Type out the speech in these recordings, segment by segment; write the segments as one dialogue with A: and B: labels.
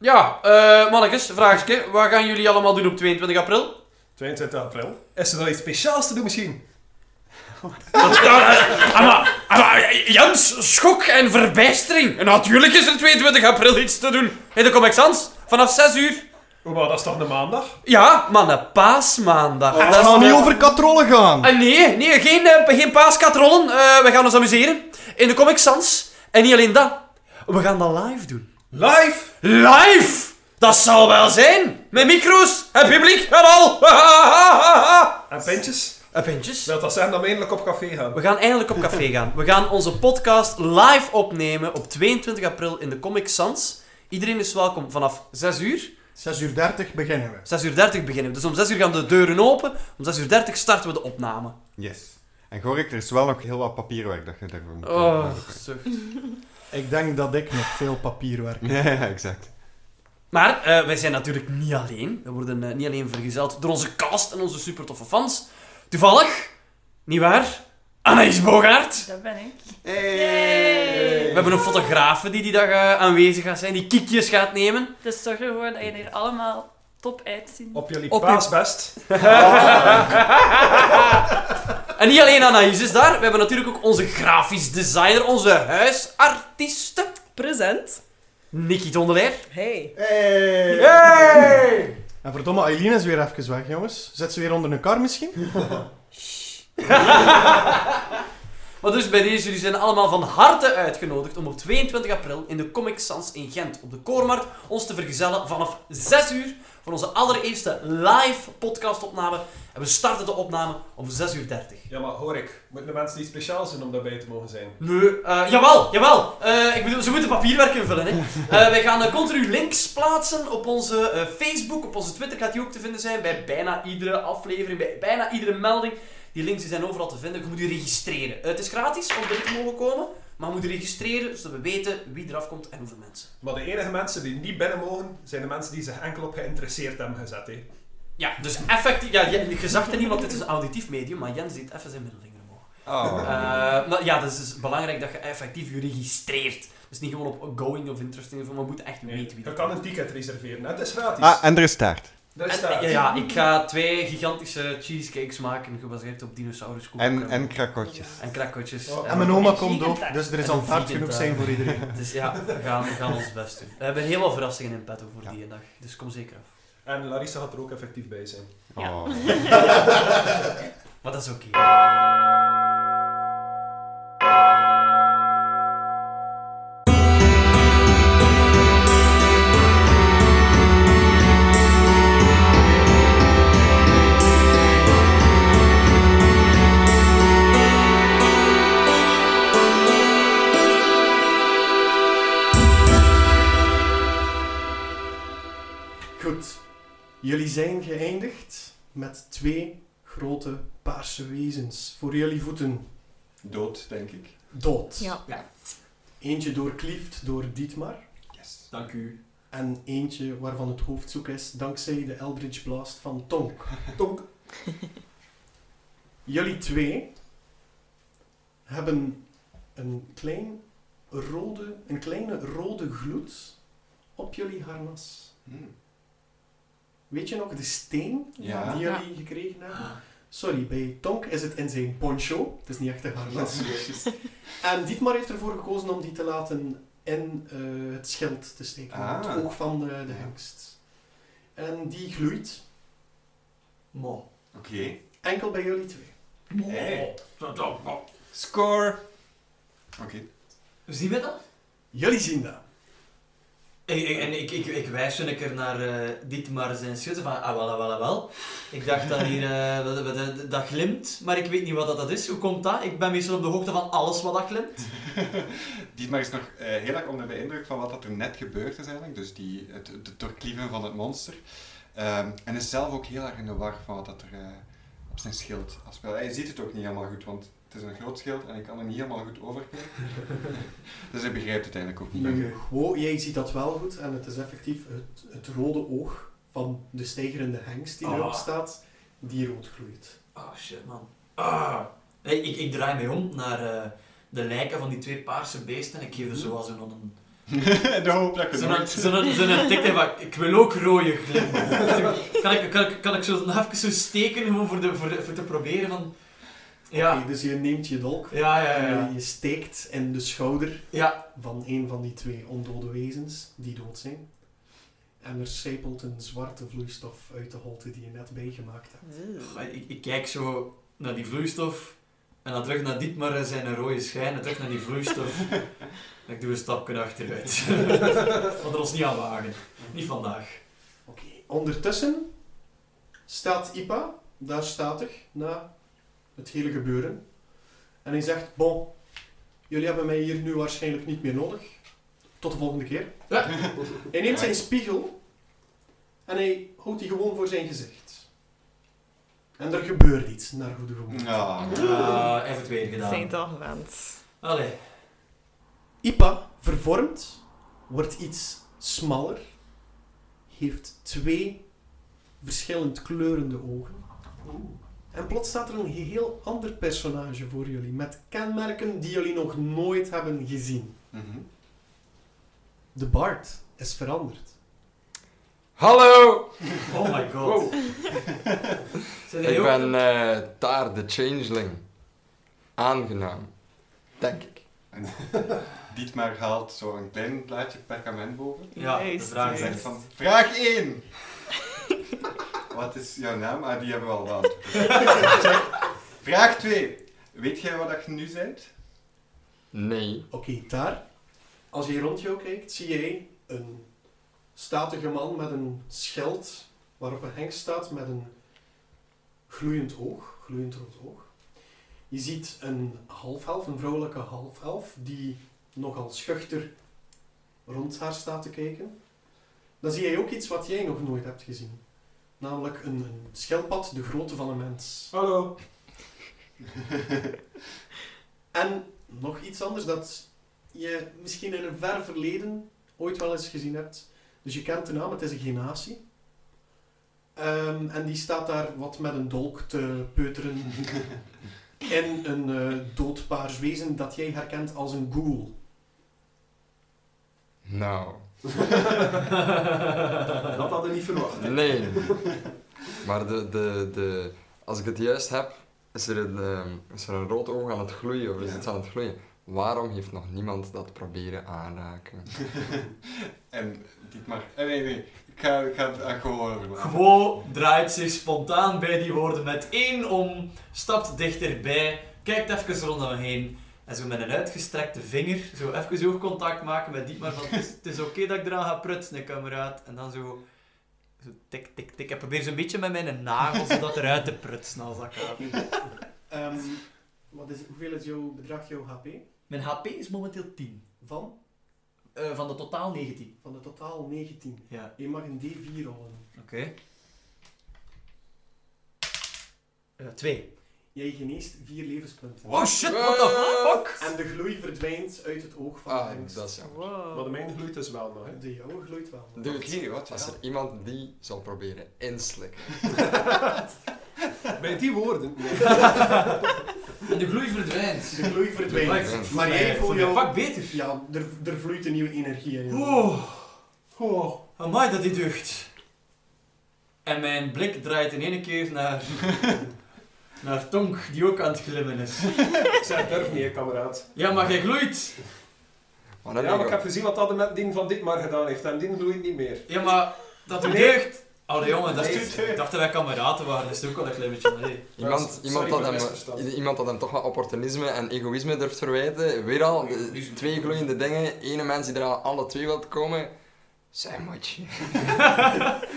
A: Ja, eh mannetjes, vraagje. Wat gaan jullie allemaal doen op 22 april?
B: 22 april. Is er wel iets speciaals te doen misschien?
A: eh, Maar, eh, Jans, schok en verbijstering. En natuurlijk is er 22 april iets te doen. In de Comic Sans, vanaf 6 uur.
B: Oh, maar dat is toch een maandag?
A: Ja, mannen, paasmaandag.
C: Het
A: Oh, Dat is-
C: gaat niet over katrollen gaan.
A: Ah, nee, nee, geen, eh, geen paaskatrollen. Eh, we gaan ons amuseren. In de Comic Sans. En niet alleen dat. We gaan dat live doen.
B: Live!
A: Live! Dat zal wel zijn. Met micro's en publiek en al. Ha, ha, ha, ha, ha.
B: En pintjes?
A: En pintjes.
B: Wil dat zijn dat we eindelijk op café gaan?
A: We gaan eindelijk op café gaan. We gaan onze podcast live opnemen op 22 april in de Comic Sans. Iedereen is welkom vanaf 6 uur.
C: 6 uur 30 beginnen we.
A: 6 uur 30 beginnen we. Dus om 6 uur gaan de deuren open. Om 6 uur 30 starten we de opname.
C: Yes. En Gorik, er is wel nog heel wat papierwerk dat je daarvoor moet
A: Oh,
C: doen.
A: zucht.
D: Ik denk dat ik nog veel papierwerk.
C: Ja, ja, exact.
A: Maar eh, wij zijn natuurlijk niet alleen. We worden eh, niet alleen vergezeld door onze cast en onze supertoffe fans. Toevallig, niet waar? Anaïs Bogaert.
E: Dat ben ik.
C: Hey.
E: Yay.
A: We hebben een fotografe die die dag eh, aanwezig gaat zijn, die kiekjes gaat nemen.
E: Dus zorg ervoor dat je er allemaal top uitziet.
B: Op jullie
A: Op je-
B: paasbest.
A: En niet alleen Anaïs is daar, we hebben natuurlijk ook onze grafisch designer, onze huisartieste,
F: Present.
A: Nicky Tondelaar.
F: Hey.
C: Hey.
A: Hey!
D: En verdomme, Aileen is weer even weg, jongens. Zit ze weer onder een kar misschien?
A: Maar dus bij deze, jullie zijn allemaal van harte uitgenodigd om op 22 april in de Comic Sans in Gent op de Koormarkt ons te vergezellen vanaf 6 uur voor onze allereerste live podcastopname. En we starten de opname om 6 uur 30.
B: Ja, maar hoor ik. Moeten de mensen iets speciaals doen om daarbij te mogen zijn?
A: Nee, eh jawel, jawel. Eh, ik bedoel, ze moeten papierwerk invullen. Hè. Eh, wij gaan eh, continu links plaatsen op onze eh, Facebook, op onze Twitter gaat die ook te vinden zijn. Bij bijna iedere aflevering, bij bijna iedere melding. Die links die zijn overal te vinden. Je moet je registreren. Eh, het is gratis om binnen te mogen komen, maar je moet je registreren zodat we weten wie eraf komt en hoeveel mensen.
B: Maar de enige mensen die niet binnen mogen, zijn de mensen die zich enkel op geïnteresseerd hebben gezet. Hé.
A: Ja, dus effectief. Ja, je, je zag het niet, want dit is een auditief medium, maar Jens deed even zijn middelvinger omhoog.
C: Oh.
A: Eh, maar ja, dus het is belangrijk dat je effectief je registreert. Dus niet gewoon op going of interesting, maar we moeten echt
B: Nee,
A: weten wie
B: je
A: dat
B: kan een ticket reserveren. hè. Het is gratis.
C: Ah, en er is taart.
B: Daar
A: En-
B: staat.
A: ja, ja, ik ga twee gigantische cheesecakes maken, gebaseerd op dinosauruscookies.
C: En, en krakotjes.
A: en krakkotjes.
B: Oh,
A: Eh,
D: En mijn oma komt ook,
E: Vliegend
D: dus er is
A: En
D: al
A: een
D: hard
A: vliegend
C: eh.
D: genoeg
A: daar.
D: zijn voor iedereen.
A: Dus ja, we gaan, we gaan ons best doen. We hebben helemaal verrassingen in petto voor
C: Ja.
A: die dag, dus kom zeker af.
B: En Larissa gaat er ook effectief bij zijn.
E: Ja.
C: Oh.
A: Maar dat is oké.
D: Goed. Jullie zijn geëindigd met twee grote paarse wezens voor jullie voeten.
C: Dood, denk ik.
D: Dood.
E: Ja.
D: Eentje doorkliefd door Dietmar.
C: Yes.
B: Dank u.
D: En eentje waarvan het hoofd zoek is dankzij de Eldritch Blast van Tonk.
B: Tonk.
D: Jullie twee hebben een, klein rode, een kleine rode gloed op jullie harnas.
C: Hmm.
D: Weet je nog de steen
C: Ja.
D: die jullie gekregen hebben? Sorry, bij Tonk is het in zijn poncho. Het is niet echt een harnas. En Dietmar heeft ervoor gekozen om die te laten in eh, het schild te steken.
C: Ah.
D: Het oog van de, de hengst. En die gloeit. Mo.
C: Oké.
D: Enkel bij jullie twee.
C: Hey. Score. Oké.
A: Zien we dat?
D: Jullie zien dat.
A: Ik, ik- en ik, ik, ik wijs een keer naar eh Dietmar zijn schutten van, ah wel, ah wel, ah wel. Ik dacht dat hier, eh, wat- wat- dat, dat glimt, maar ik weet niet wat dat- dat is. Hoe komt dat? Ik ben meestal op de hoogte van alles wat dat glimt.
C: Dietmar is nog eh, heel erg onder de indruk van wat dat er net gebeurd is eigenlijk. Dus die, het, het doorklieven van het monster. Ehm, en is zelf ook heel erg in de war van wat dat er eh, op zijn schild afspeelt. Hij ziet het ook niet helemaal goed, want het is een groot schild en ik kan er niet helemaal goed overkijken. dus hij begrijpt het eigenlijk ook niet.
D: Nu, Wo, jij ziet dat wel goed en het is effectief het, het rode oog van de stijgerende hengst die
A: Ah.
D: erop staat, die rood gloeit.
A: Oh shit, man. Ah. Nee, ik, ik draai mij om naar eh, de lijken van die twee paarse beesten en ik geef er zoals een, een,
C: de hoop dat je
A: Zo'n
C: nooit...
A: zo'n- zo'n tikje van, ik wil ook rode glimmen. kan, ik, kan, ik, kan ik zo nog even zo steken gewoon voor, de, voor, de- voor te proberen van... Ja,
D: Oké, dus je neemt je dolk.
A: ja, ja, ja.
D: en
A: ja.
D: Je steekt in de schouder
A: Ja.
D: van een van die twee ondode wezens die dood zijn. En er sijpelt een zwarte vloeistof uit de holte die je net bijgemaakt hebt.
A: Goh, Ik, ik kijk zo naar die vloeistof. En dan terug naar Dietmar en zijn rode schijn. En terug naar die vloeistof. en ik doe een stapje achteruit. Want er ons niet aan wagen. Niet vandaag.
D: Oké, ondertussen staat Ipa daar statig na het hele gebeuren. En hij zegt, bon, jullie hebben mij hier nu waarschijnlijk niet meer nodig. Tot de volgende keer.
A: Ja.
D: Hij neemt zijn spiegel en hij houdt die gewoon voor zijn gezicht. En er gebeurt iets naar goede gewoonte.
C: Ja.
A: Ah, hij heeft het weer
G: Zijn
A: gedaan.
G: toch gewend.
A: Allee.
D: Ipa vervormt, wordt iets smaller, heeft twee verschillend kleurende ogen. En plots staat er een heel ander personage voor jullie, met kenmerken die jullie nog nooit hebben gezien.
C: Mhm.
D: De Bard is veranderd.
B: Hallo!
A: Oh my god. Zijn jullie
B: Ik
A: ook-
B: ben eh, daar, de changeling. Aangenaam. Denk ik.
C: Dietmar haalt zo'n klein plaatje perkament boven.
A: Ja, de
G: Juist,
A: vraag
C: En
A: is
C: zegt
G: juist.
C: van... Vraag 1! Wat is jouw naam? Ah, die hebben we al beantwoord. Vraag 2. Weet jij wat dat je nu bent?
B: Nee.
D: Oké, daar, als je rond jou kijkt, zie jij een statige man met een schild waarop een hengst staat met een gloeiend oog, gloeiend rood oog. Je ziet een halfelf, een vrouwelijke halfelf, die nogal schuchter rond haar staat te kijken. Dan zie jij ook iets wat jij nog nooit hebt gezien. Namelijk een, een schildpad de grootte van een mens.
H: Hallo.
D: En nog iets anders dat je misschien in een ver verleden ooit wel eens gezien hebt. Dus je kent de naam, het is een genatie. Ehm, en die staat daar wat met een dolk te peuteren. in een eh, doodpaars wezen dat jij herkent als een ghoul.
B: Nou.
H: Dat hadden we niet verwacht.
B: Nee. Maar de, de, de, als ik het juist heb, is er een, ehm, is er een rood oog aan het gloeien of is
C: Ja.
B: iets aan het gloeien. Waarom heeft nog niemand dat proberen aanraken?
C: En Dietmar... eh, Nee, nee. Ik ga, ik ga het ah, aan gewoon overlaten.
A: Quo draait zich spontaan bij die woorden met één om, stapt dichterbij, kijkt even rondom heen en zo met een uitgestrekte vinger zo even oogcontact maken met Dietmar van het is, het is oké dat ik eraan ga prutsen, kameraad. En dan zo, zo tik, tik, tik. En probeer zo'n beetje met mijn nagels dat eruit te prutsen als dat kan.
D: Ehm, wat is, hoeveel is jouw, bedraagt jouw HP?
A: Mijn HP is momenteel 10.
D: Van?
A: Eh, van de totaal 19.
D: Van de totaal 19.
A: Ja,
D: Je mag een D4 rollen.
A: oké. Eh, twee.
D: Jij geneest 4 levenspunten.
A: Oh shit, what the fuck?
D: En de gloei verdwijnt uit het oog van de
B: Ah,
D: hengst.
B: dat is jammer.
H: Maar de
G: Wow.
H: mijn gloeit dus wel nog, hè.
D: De jouwe gloeit wel.
B: Dude,
C: Oké, wat
B: Als
C: wel.
B: er iemand die zal proberen inslikken.
H: Bij die woorden.
A: En de gloei verdwijnt.
D: De gloei verdwijnt.
B: Verdwijnt.
D: Maar jij voelt jou...
A: Pak beter.
D: Ja, er, er vloeit een nieuwe energie in.
A: Oeh. Oh. Amai, dat die ducht. En mijn blik draait in ene keer naar... naar Tonk, die ook aan het glimmen is.
H: Ik zeg durf niet, hè, kameraad.
A: Ja, maar jij gloeit.
B: Maar
H: Ja,
B: dan
H: maar
B: denk
H: ik
B: ik
H: heb gezien wat dat met die van Dietmar gedaan heeft. En die gloeit niet meer.
A: Ja, maar dat doet
H: Nee.
A: deugd. Allee jongen, dat is, ik dacht dat wij kameraden waren, dat is ook al een klein beetje. Allee.
B: Iemand,
H: Sorry
B: iemand,
H: voor
B: dat
H: het
B: hem,
H: misverstand.
B: i- iemand dat hem toch wel opportunisme en egoïsme durft verwijten. Weer al, de-
A: Egoïsme.
B: twee gloeiende dingen. Ene mens die er aan alle twee wilt komen. Zeg, maatje.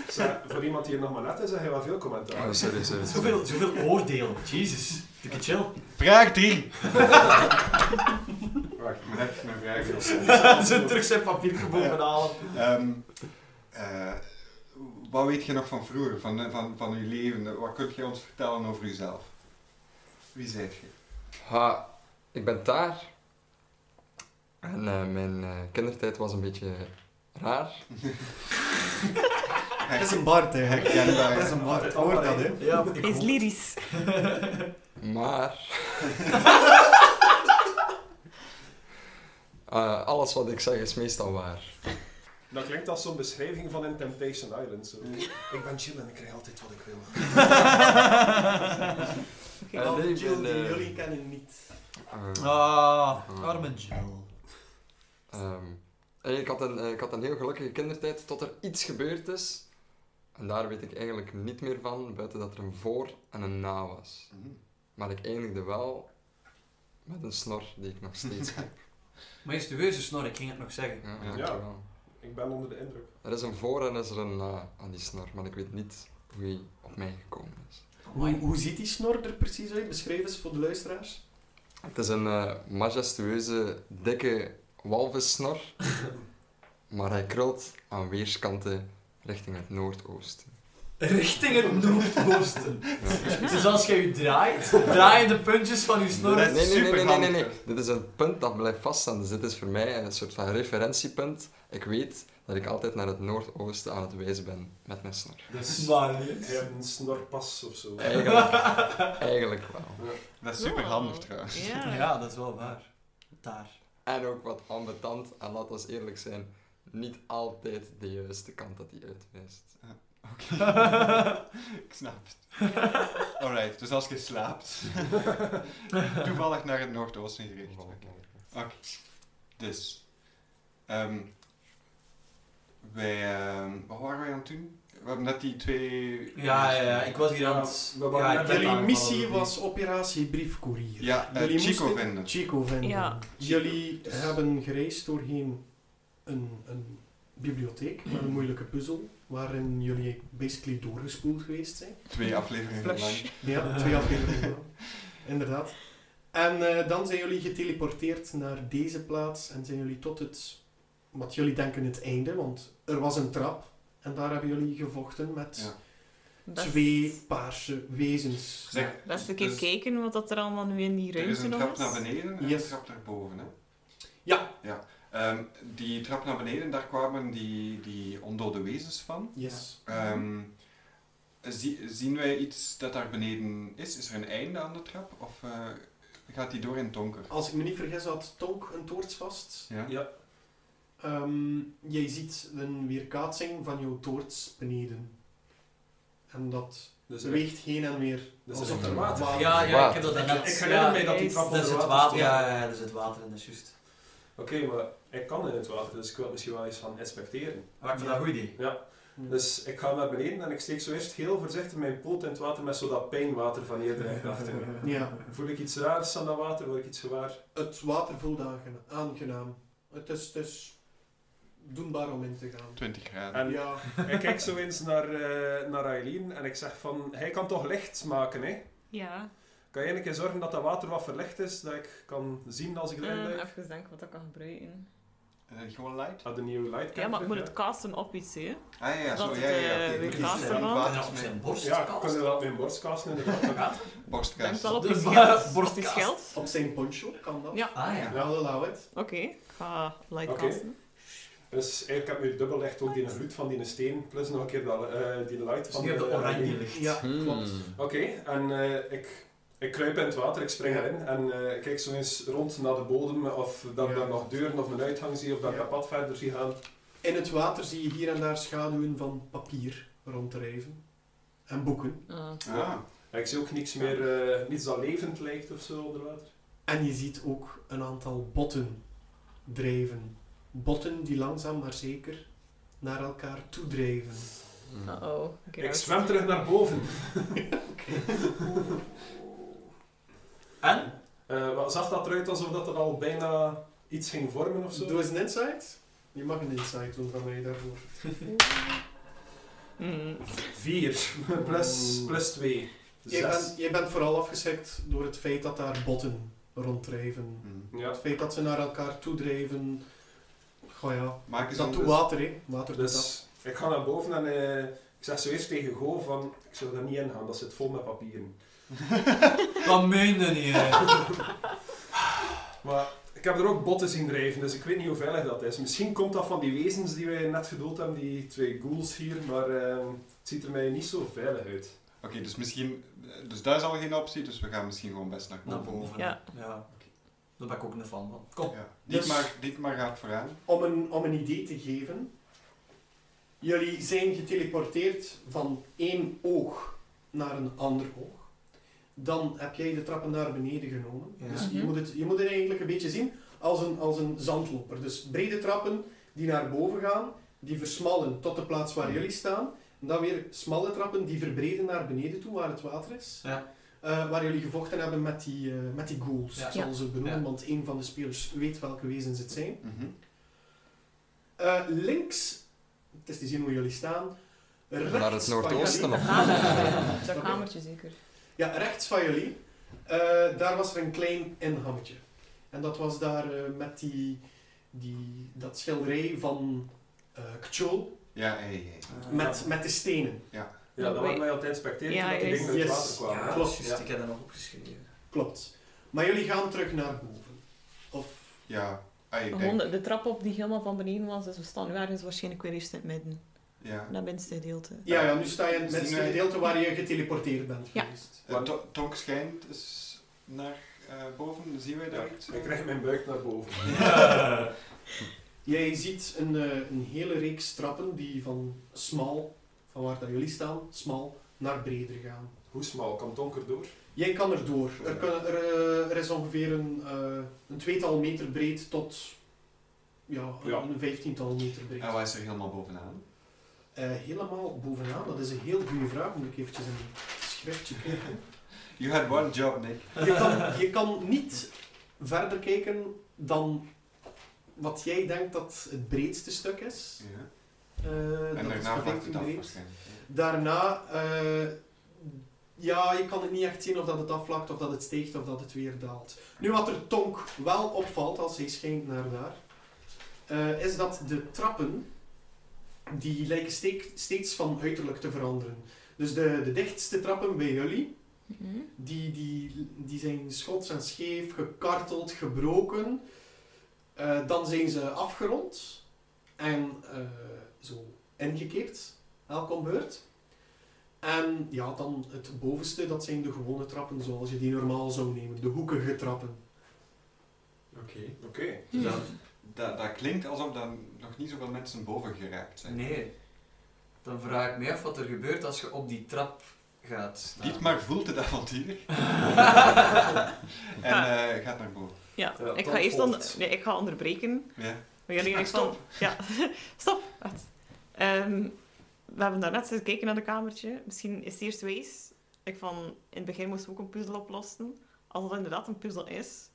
H: Zeg, voor iemand die hier nog maar net is, zeg je wel veel commentaar.
B: Oh, sorry, sorry. sorry.
A: Zoveel, zoveel oordeel. Jezus. Dikke chill.
C: Vraag 3. Wacht, ik moet even mijn vraag doen.
A: Zo terug zijn papier bovenhalen.
C: Ehm, eh, wat weet je nog van vroeger, van, van, van je leven? Wat kun je ons vertellen over jezelf? Wie zijt je?
B: Ha, ik ben daar. En eh, mijn eh, kindertijd was een beetje raar.
D: Het is een baard, hè.
C: Herkenbaar.
D: Het is een baard. Hoor dat, hè.
A: Ja, ik
G: Hij is
A: hoop-
G: lyrisch.
B: Maar...
I: Eh, alles wat ik zeg is meestal waar.
B: Dat klinkt als zo'n beschrijving van in Temptation Island. Zo. Ik ben chill en ik krijg altijd wat ik wil.
D: Ik al
I: nee,
D: de
I: ik
D: Jill
I: ben,
D: die
I: eh,
D: jullie kennen niet.
I: Eh,
F: Ah, arme Joe.
I: ehm, en ik, had een, eh, ik had een heel gelukkige kindertijd tot er iets gebeurd is. En daar weet ik eigenlijk niet meer van, buiten dat er een voor en een na was. Maar ik eindigde wel met een snor die ik nog steeds heb.
J: Majestueuze snor, ik ging het nog zeggen.
I: Ja,
C: Ja.
I: dankjewel.
B: Ik ben onder de indruk.
I: Er is een voor en is er een na aan die snor, maar ik weet niet hoe hij op mij gekomen is.
D: Hoe, hoe ziet die snor er precies uit? Beschrijf eens voor de luisteraars.
I: Het is een eh, majestueuze, dikke walvissnor. maar hij krult aan weerskanten richting het noordoosten.
J: Richting het noordoosten.
I: Ja.
J: Dus als jij je draait, draaien de puntjes van je snor.
C: Nee.
I: Nee, nee, nee, nee, nee, nee, nee.
C: superhandig.
I: Dit is een punt dat blijft vaststaan. Dus dit is voor mij een soort van referentiepunt. Ik weet dat ik altijd naar het noordoosten aan het wijzen ben met mijn snor.
B: Dus
J: Maar nee.
B: je hebt een snorpas of zo.
I: Eigenlijk, eigenlijk wel.
C: Dat is super handig trouwens.
E: Ja.
J: Ja, dat is wel waar. Daar.
I: En ook wat ambetant. En laten we eerlijk zijn, niet altijd de juiste kant dat hij uitwijst.
C: Oké. ik snap het. Alright, dus als je slaapt, toevallig naar het noordoosten gericht. Dus, ehm, wij, ehm, wat waren wij aan het doen? We hebben net die twee...
J: Ja, ja, ja, ik was hier aan het...
B: We waren
J: ja, ik
B: net
D: Jullie
J: werd
D: missie
J: aangevallen.
D: was operatie briefcourier.
C: Ja, eh,
D: Jullie
C: Chico
D: moesten-
C: vinden.
D: Chico vinden.
E: Ja.
D: Jullie
C: Dus-
D: hebben gereisd doorheen een, een bibliotheek met een moeilijke puzzel, waarin jullie basically doorgespoeld geweest zijn.
C: Twee afleveringen
E: Flash.
C: lang.
D: Ja, twee afleveringen. wel. Inderdaad. En eh, dan zijn jullie geteleporteerd naar deze plaats en zijn jullie tot het, wat jullie denken, het einde, want er was een trap en daar hebben jullie gevochten met
C: Ja.
E: Dat-
D: twee paarse wezens.
C: Zeg,
E: Dat is een keer
C: dus
E: kijken wat dat er allemaal nu in die
C: Er is
E: ruimte
C: een
E: nog
C: trap
E: is.
C: naar beneden en
D: Yes.
C: een trap naar boven, hè?
D: Ja.
C: ja. Ehm, die trap naar beneden, daar kwamen die, die ondode wezens van.
D: Yes.
C: Ehm, zie- zien wij iets dat daar beneden is? Is er een einde aan de trap? Of eh, gaat die door in het donker?
D: Als ik me niet vergis had Tonk een toorts vast.
C: Ja?
B: Ja.
D: Ehm, jij ziet een weerkaatsing van jouw toorts beneden. En dat
B: Dus ik,
D: beweegt heen en weer.
B: Dus
D: alsof
B: er
D: er
B: water.
D: water
J: Ja, ja, ik heb dat
B: ik,
J: daarnet...
B: ik
J: ja,
B: herinner mij dat die trap
J: Dat
B: onder
J: is het
B: water
J: water,
B: stond.
J: ja, ja, ja, dat is het water en dat is juist.
B: Oké, maar ik kan in het water, dus ik wil misschien wel eens gaan inspecteren.
J: Maar ik vind dat een goed idee.
B: Dus ik ga naar beneden en ik steek zo eerst heel voorzichtig mijn poot in het water met zo dat pijnwater van eerder in gedachten.
D: Ja.
B: Voel ik iets raars aan dat water? Word ik iets gewaar?
D: Het water voelt aangena- aangenaam. Het is, het is doenbaar om in te gaan.
C: 20 graden.
B: En
D: Ja,
B: ik kijk zo eens naar, eh, naar Aileen en ik zeg van, hij kan toch licht maken, hè?
E: Ja.
B: Kan jij een keer zorgen dat dat water wat verlicht is, dat ik kan zien als ik erin
E: Ehm,
B: duik?
E: even denken wat ik kan gebruiken.
C: Eh, gewoon light?
B: Ah, de nieuwe light
E: Ja, maar ik moet het casten op iets, hè.
C: Ah ja, ja, zo,
E: Dat
C: ja, ja. ja.
E: het, eh,
C: Oké,
E: weer
C: oké,
E: kaas
C: dus
E: ervan.
C: dan
J: En
C: water
J: dan
C: is
J: op
C: mee.
J: zijn borst
B: Ja, ik
J: kast.
B: kan je dat op mijn borstkasten inderdaad.
E: Ik denk
C: Borstkaas.
E: wel op
J: De
E: iets
J: wa-
E: geld.
J: borstkasten.
E: Iets geld.
D: op zijn poncho kan dat.
E: Ja.
J: Ah ja.
D: Ja, allow it.
E: Oké, ik ga light
B: Oké.
E: casten.
B: Dus ik heb nu dubbel echt ook die gloed van die steen, plus nog een keer dat, eh, die light
J: Dus
B: van
J: nu heb je
B: eh,
J: oranje licht.
D: Ja, klopt.
I: Hmm.
B: Oké, en eh, ik, ik kruip in het water, ik spring erin en eh, ik kijk zo eens rond naar de bodem of dat ik
D: Ja.
B: daar nog deuren of een uitgang zie of dat ik
D: Ja.
B: dat pad verder zie gaan.
D: In het water zie je hier en daar schaduwen van papier ronddrijven. En boeken.
E: Ah.
C: Ah,
B: En ik zie ook niks meer, eh, niets dat levend lijkt of zo onder water.
D: En je ziet ook een aantal botten drijven. Botten die langzaam maar zeker naar elkaar toe drijven.
I: Hmm.
E: Uh-oh. Oké,
B: ik
E: dat is-
B: zwem terug naar boven.
J: En?
B: Eh, wat zag dat eruit alsof dat er al bijna iets ging vormen of zo?
D: Doe eens een insight. Je mag een insight doen van mij daarvoor.
E: Mm.
B: 4 plus,
D: Oeh.
B: plus 2.
D: Jij
B: 6.
D: bent, jij bent vooral afgeschrikt door het feit dat daar botten ronddrijven.
C: hmm.
B: Ja.
D: Het feit dat ze naar elkaar toedrijven. Goh ja,
C: Maak eens
D: dat
C: een-
D: doet water hè. Water doet dat.
B: Dus ik ga naar boven en eh, ik zeg zo eerst tegen Go van, ik zou daar niet in gaan, dat zit vol met papieren.
J: Dat meen je niet, hè.
B: Maar ik heb er ook botten zien drijven, dus ik weet niet hoe veilig dat is. Misschien komt dat van die wezens die wij net gedood hebben, die twee ghouls hier, maar eh, het ziet er mij niet zo veilig uit.
C: Oké,
A: Nou,
C: dus misschien... Dus daar is al geen optie, dus we gaan misschien gewoon best naar boven.
J: Naar boven.
E: Ja.
J: ja.
A: Daar ben ik ook een fan van. Kom.
C: Ja.
D: Dus-
C: Dietmar, Dietmar gaat vooraan.
D: Om een, om een idee te geven. Jullie zijn geteleporteerd van één oog naar een ander oog. Dan heb jij de trappen naar beneden genomen.
A: Ja.
D: Dus je,
E: Mhm.
D: moet het, je moet het eigenlijk een beetje zien als een, als een zandloper. Dus brede trappen die naar boven gaan, die versmallen tot de plaats
A: Mhm.
D: waar jullie staan. En dan weer smalle trappen die verbreden naar beneden toe, waar het water is.
A: Ja.
D: Eh, waar jullie gevochten hebben met die, eh met die ghouls,
A: Ja.
D: ik zal ze benoemen,
A: Ja.
D: want één van de spelers weet welke wezens het zijn.
C: Mhm.
D: Eh, links, het is te zien hoe jullie staan. Rechts
K: Naar het
D: van
K: noordoosten
D: jullie-
K: nog.
E: Dat kamertje zeker.
D: Ja, rechts van jullie. eh, daar was er een klein inhammetje. En dat was daar eh, met die, die, dat schilderij van eh Kjol
C: Ja, hey, hey.
E: Eh,
D: met, met de stenen.
B: Ja, dat waren wij aan het inspecteren
E: Ja,
B: toen dat die
E: juist.
B: dingen uit het
D: Yes.
B: water kwamen.
A: Ja,
B: hè?
D: klopt.
A: juist, Ik heb dat nog opgeschreven.
D: Klopt. Maar jullie gaan terug naar boven. Of
C: Ja, ah, ik
E: Gewoon
C: denk...
E: de, de trap op die helemaal van beneden was, dus we staan nu ergens waarschijnlijk weer eerst in het midden.
C: Ja.
E: Dat minste gedeelte.
D: Ja, ja, nu sta je in het
C: Zien
D: middenste
C: wij-
D: gedeelte waar je geteleporteerd bent
E: Ja.
D: geweest.
C: Eh, To- Tonk schijnt dus naar eh, boven. Zien wij daar iets?
B: Ik krijg mijn buik naar boven.
D: Jij ziet een, eh, een hele reeks trappen die van smal, van waar dat jullie staan, smal, naar breder gaan.
B: Hoe smal? Kan donker door?
D: Jij kan er door. Er, kunnen- er, eh, er is ongeveer een, eh, een tweetal meter breed tot ja,
B: Ja.
D: een vijftiental meter breed.
C: En wat Ah, is er helemaal bovenaan?
D: Eh, helemaal bovenaan, dat is een heel goede vraag. Moet ik eventjes een schriftje kijken.
C: You had one job, Nick.
D: Je kan, je kan niet verder kijken dan wat jij denkt dat het breedste stuk is.
C: Ja.
D: Eh, dat
C: En
D: is
C: daarna vlakt
D: 15
C: het af
D: breed.
C: waarschijnlijk.
D: Daarna, eh, ja, je kan het niet echt zien of dat het afvlakt, of dat het steekt, of dat het weer daalt. Nu, wat er Tonk wel opvalt, als hij schijnt naar daar, eh, is dat de trappen, die lijken steek- steeds van uiterlijk te veranderen. Dus de, de dichtste trappen bij jullie,
E: Mhm.
D: die, die, die zijn schots en scheef, gekarteld, gebroken. Eh, dan zijn ze afgerond en eh, zo ingekeerd, elk om beurt. En ja, dan het bovenste, dat zijn de gewone trappen zoals je die normaal zou nemen, de hoekige trappen.
C: Oké.
B: Oké.
C: Dus dat, dat, dat klinkt alsof daar nog niet zoveel mensen boven geraakt zijn.
A: Nee. Dan vraag ik me af wat er gebeurt als je op die trap gaat staan.
C: Dietmar voelt het avontuur. en eh, gaat naar boven.
E: Ja,
B: Ja,
E: ik
B: dan
E: ga eerst on-
B: volgt-
E: nee, ik ga onderbreken.
C: Ja.
E: Maar jullie
C: Ah,
E: gaan van... Ja, stop. Wacht. Ehm, we hebben daarnet zitten kijken naar de kamertje. Misschien is het eerst wijs. Ik van, in het begin moesten we ook een puzzel oplossen. Als dat inderdaad een puzzel is,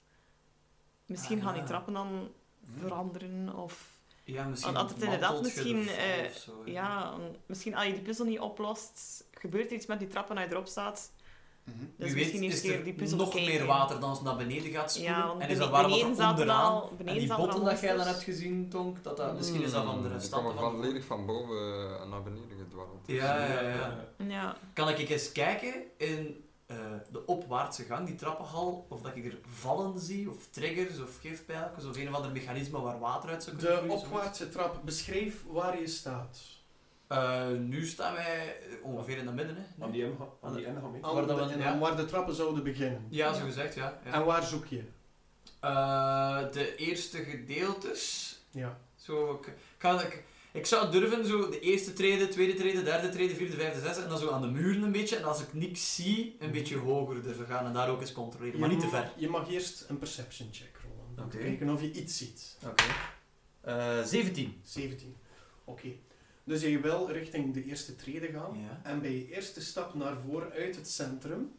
E: misschien
A: Ah,
E: gaan die
A: ja.
E: trappen dan
A: Hm.
E: veranderen. Of
A: Ja, misschien.
E: Want altijd inderdaad
A: mantelt je
E: misschien,
A: ervan
E: eh,
A: of zo,
E: ja, misschien als je die puzzel niet oplost, gebeurt er iets met die trappen als je erop staat.
C: Mhm.
E: Dus
A: Wie
E: misschien
A: weet,
E: eerst
A: is
E: keer
A: er
E: die puzzel
A: nog
E: bekijken.
A: meer water dan ze naar beneden gaat spoelen.
E: Ja, want
A: en is dat
E: bene-
A: waarom dat
E: beneden
A: er
E: zaten
A: onderaan...
E: al...
A: En
E: Beneden
A: die
E: zaten
A: botten dat jij dan
E: monsters.
A: hebt gezien, Tonk, dat dat, misschien is dat van de
K: Hmm, die
A: restanten
K: komen
A: van...
K: volledig van boven en naar beneden gedwarreld.
A: Ja, ja, ja.
B: Eh,
E: Ja.
A: Kan ik eens kijken in eh, de opwaartse gang, die trappenhal, of dat ik er vallen zie, of triggers, of gifpijltjes, of een of ander mechanisme waar water uit zou kunnen
D: De
A: vloeien, zoiets?
D: opwaartse trap, beschrijf waar je staat.
A: Eh, nu staan wij eh, ongeveer in het midden, hè.
B: Aan die inha- aan die inham, hè.
D: Aan
A: Waar
D: de-
A: dat we-
D: en
A: ja.
D: waar de trappen zouden beginnen.
A: Ja, zo gezegd, ja. ja.
D: En waar zoek je?
A: Eh, de eerste gedeeltes,
D: Ja.
A: Zo, ik, kan, ik, ik zou durven zo de eerste treden, tweede treden, derde treden, vierde, vijfde, zesde en dan zo aan de muren een beetje. En als ik niks zie,
D: Mhm.
A: een beetje hoger durven gaan en daar ook eens controleren. Maar niet te
D: Je
A: ver.
D: mag- Je mag eerst een perception check rollen. Om
A: Oké.
D: te kijken of je iets ziet.
A: Oké. 17.
D: 17. Oké. Dus je wil richting de eerste trede gaan.
A: Ja.
D: En bij je eerste stap naar voren uit het centrum,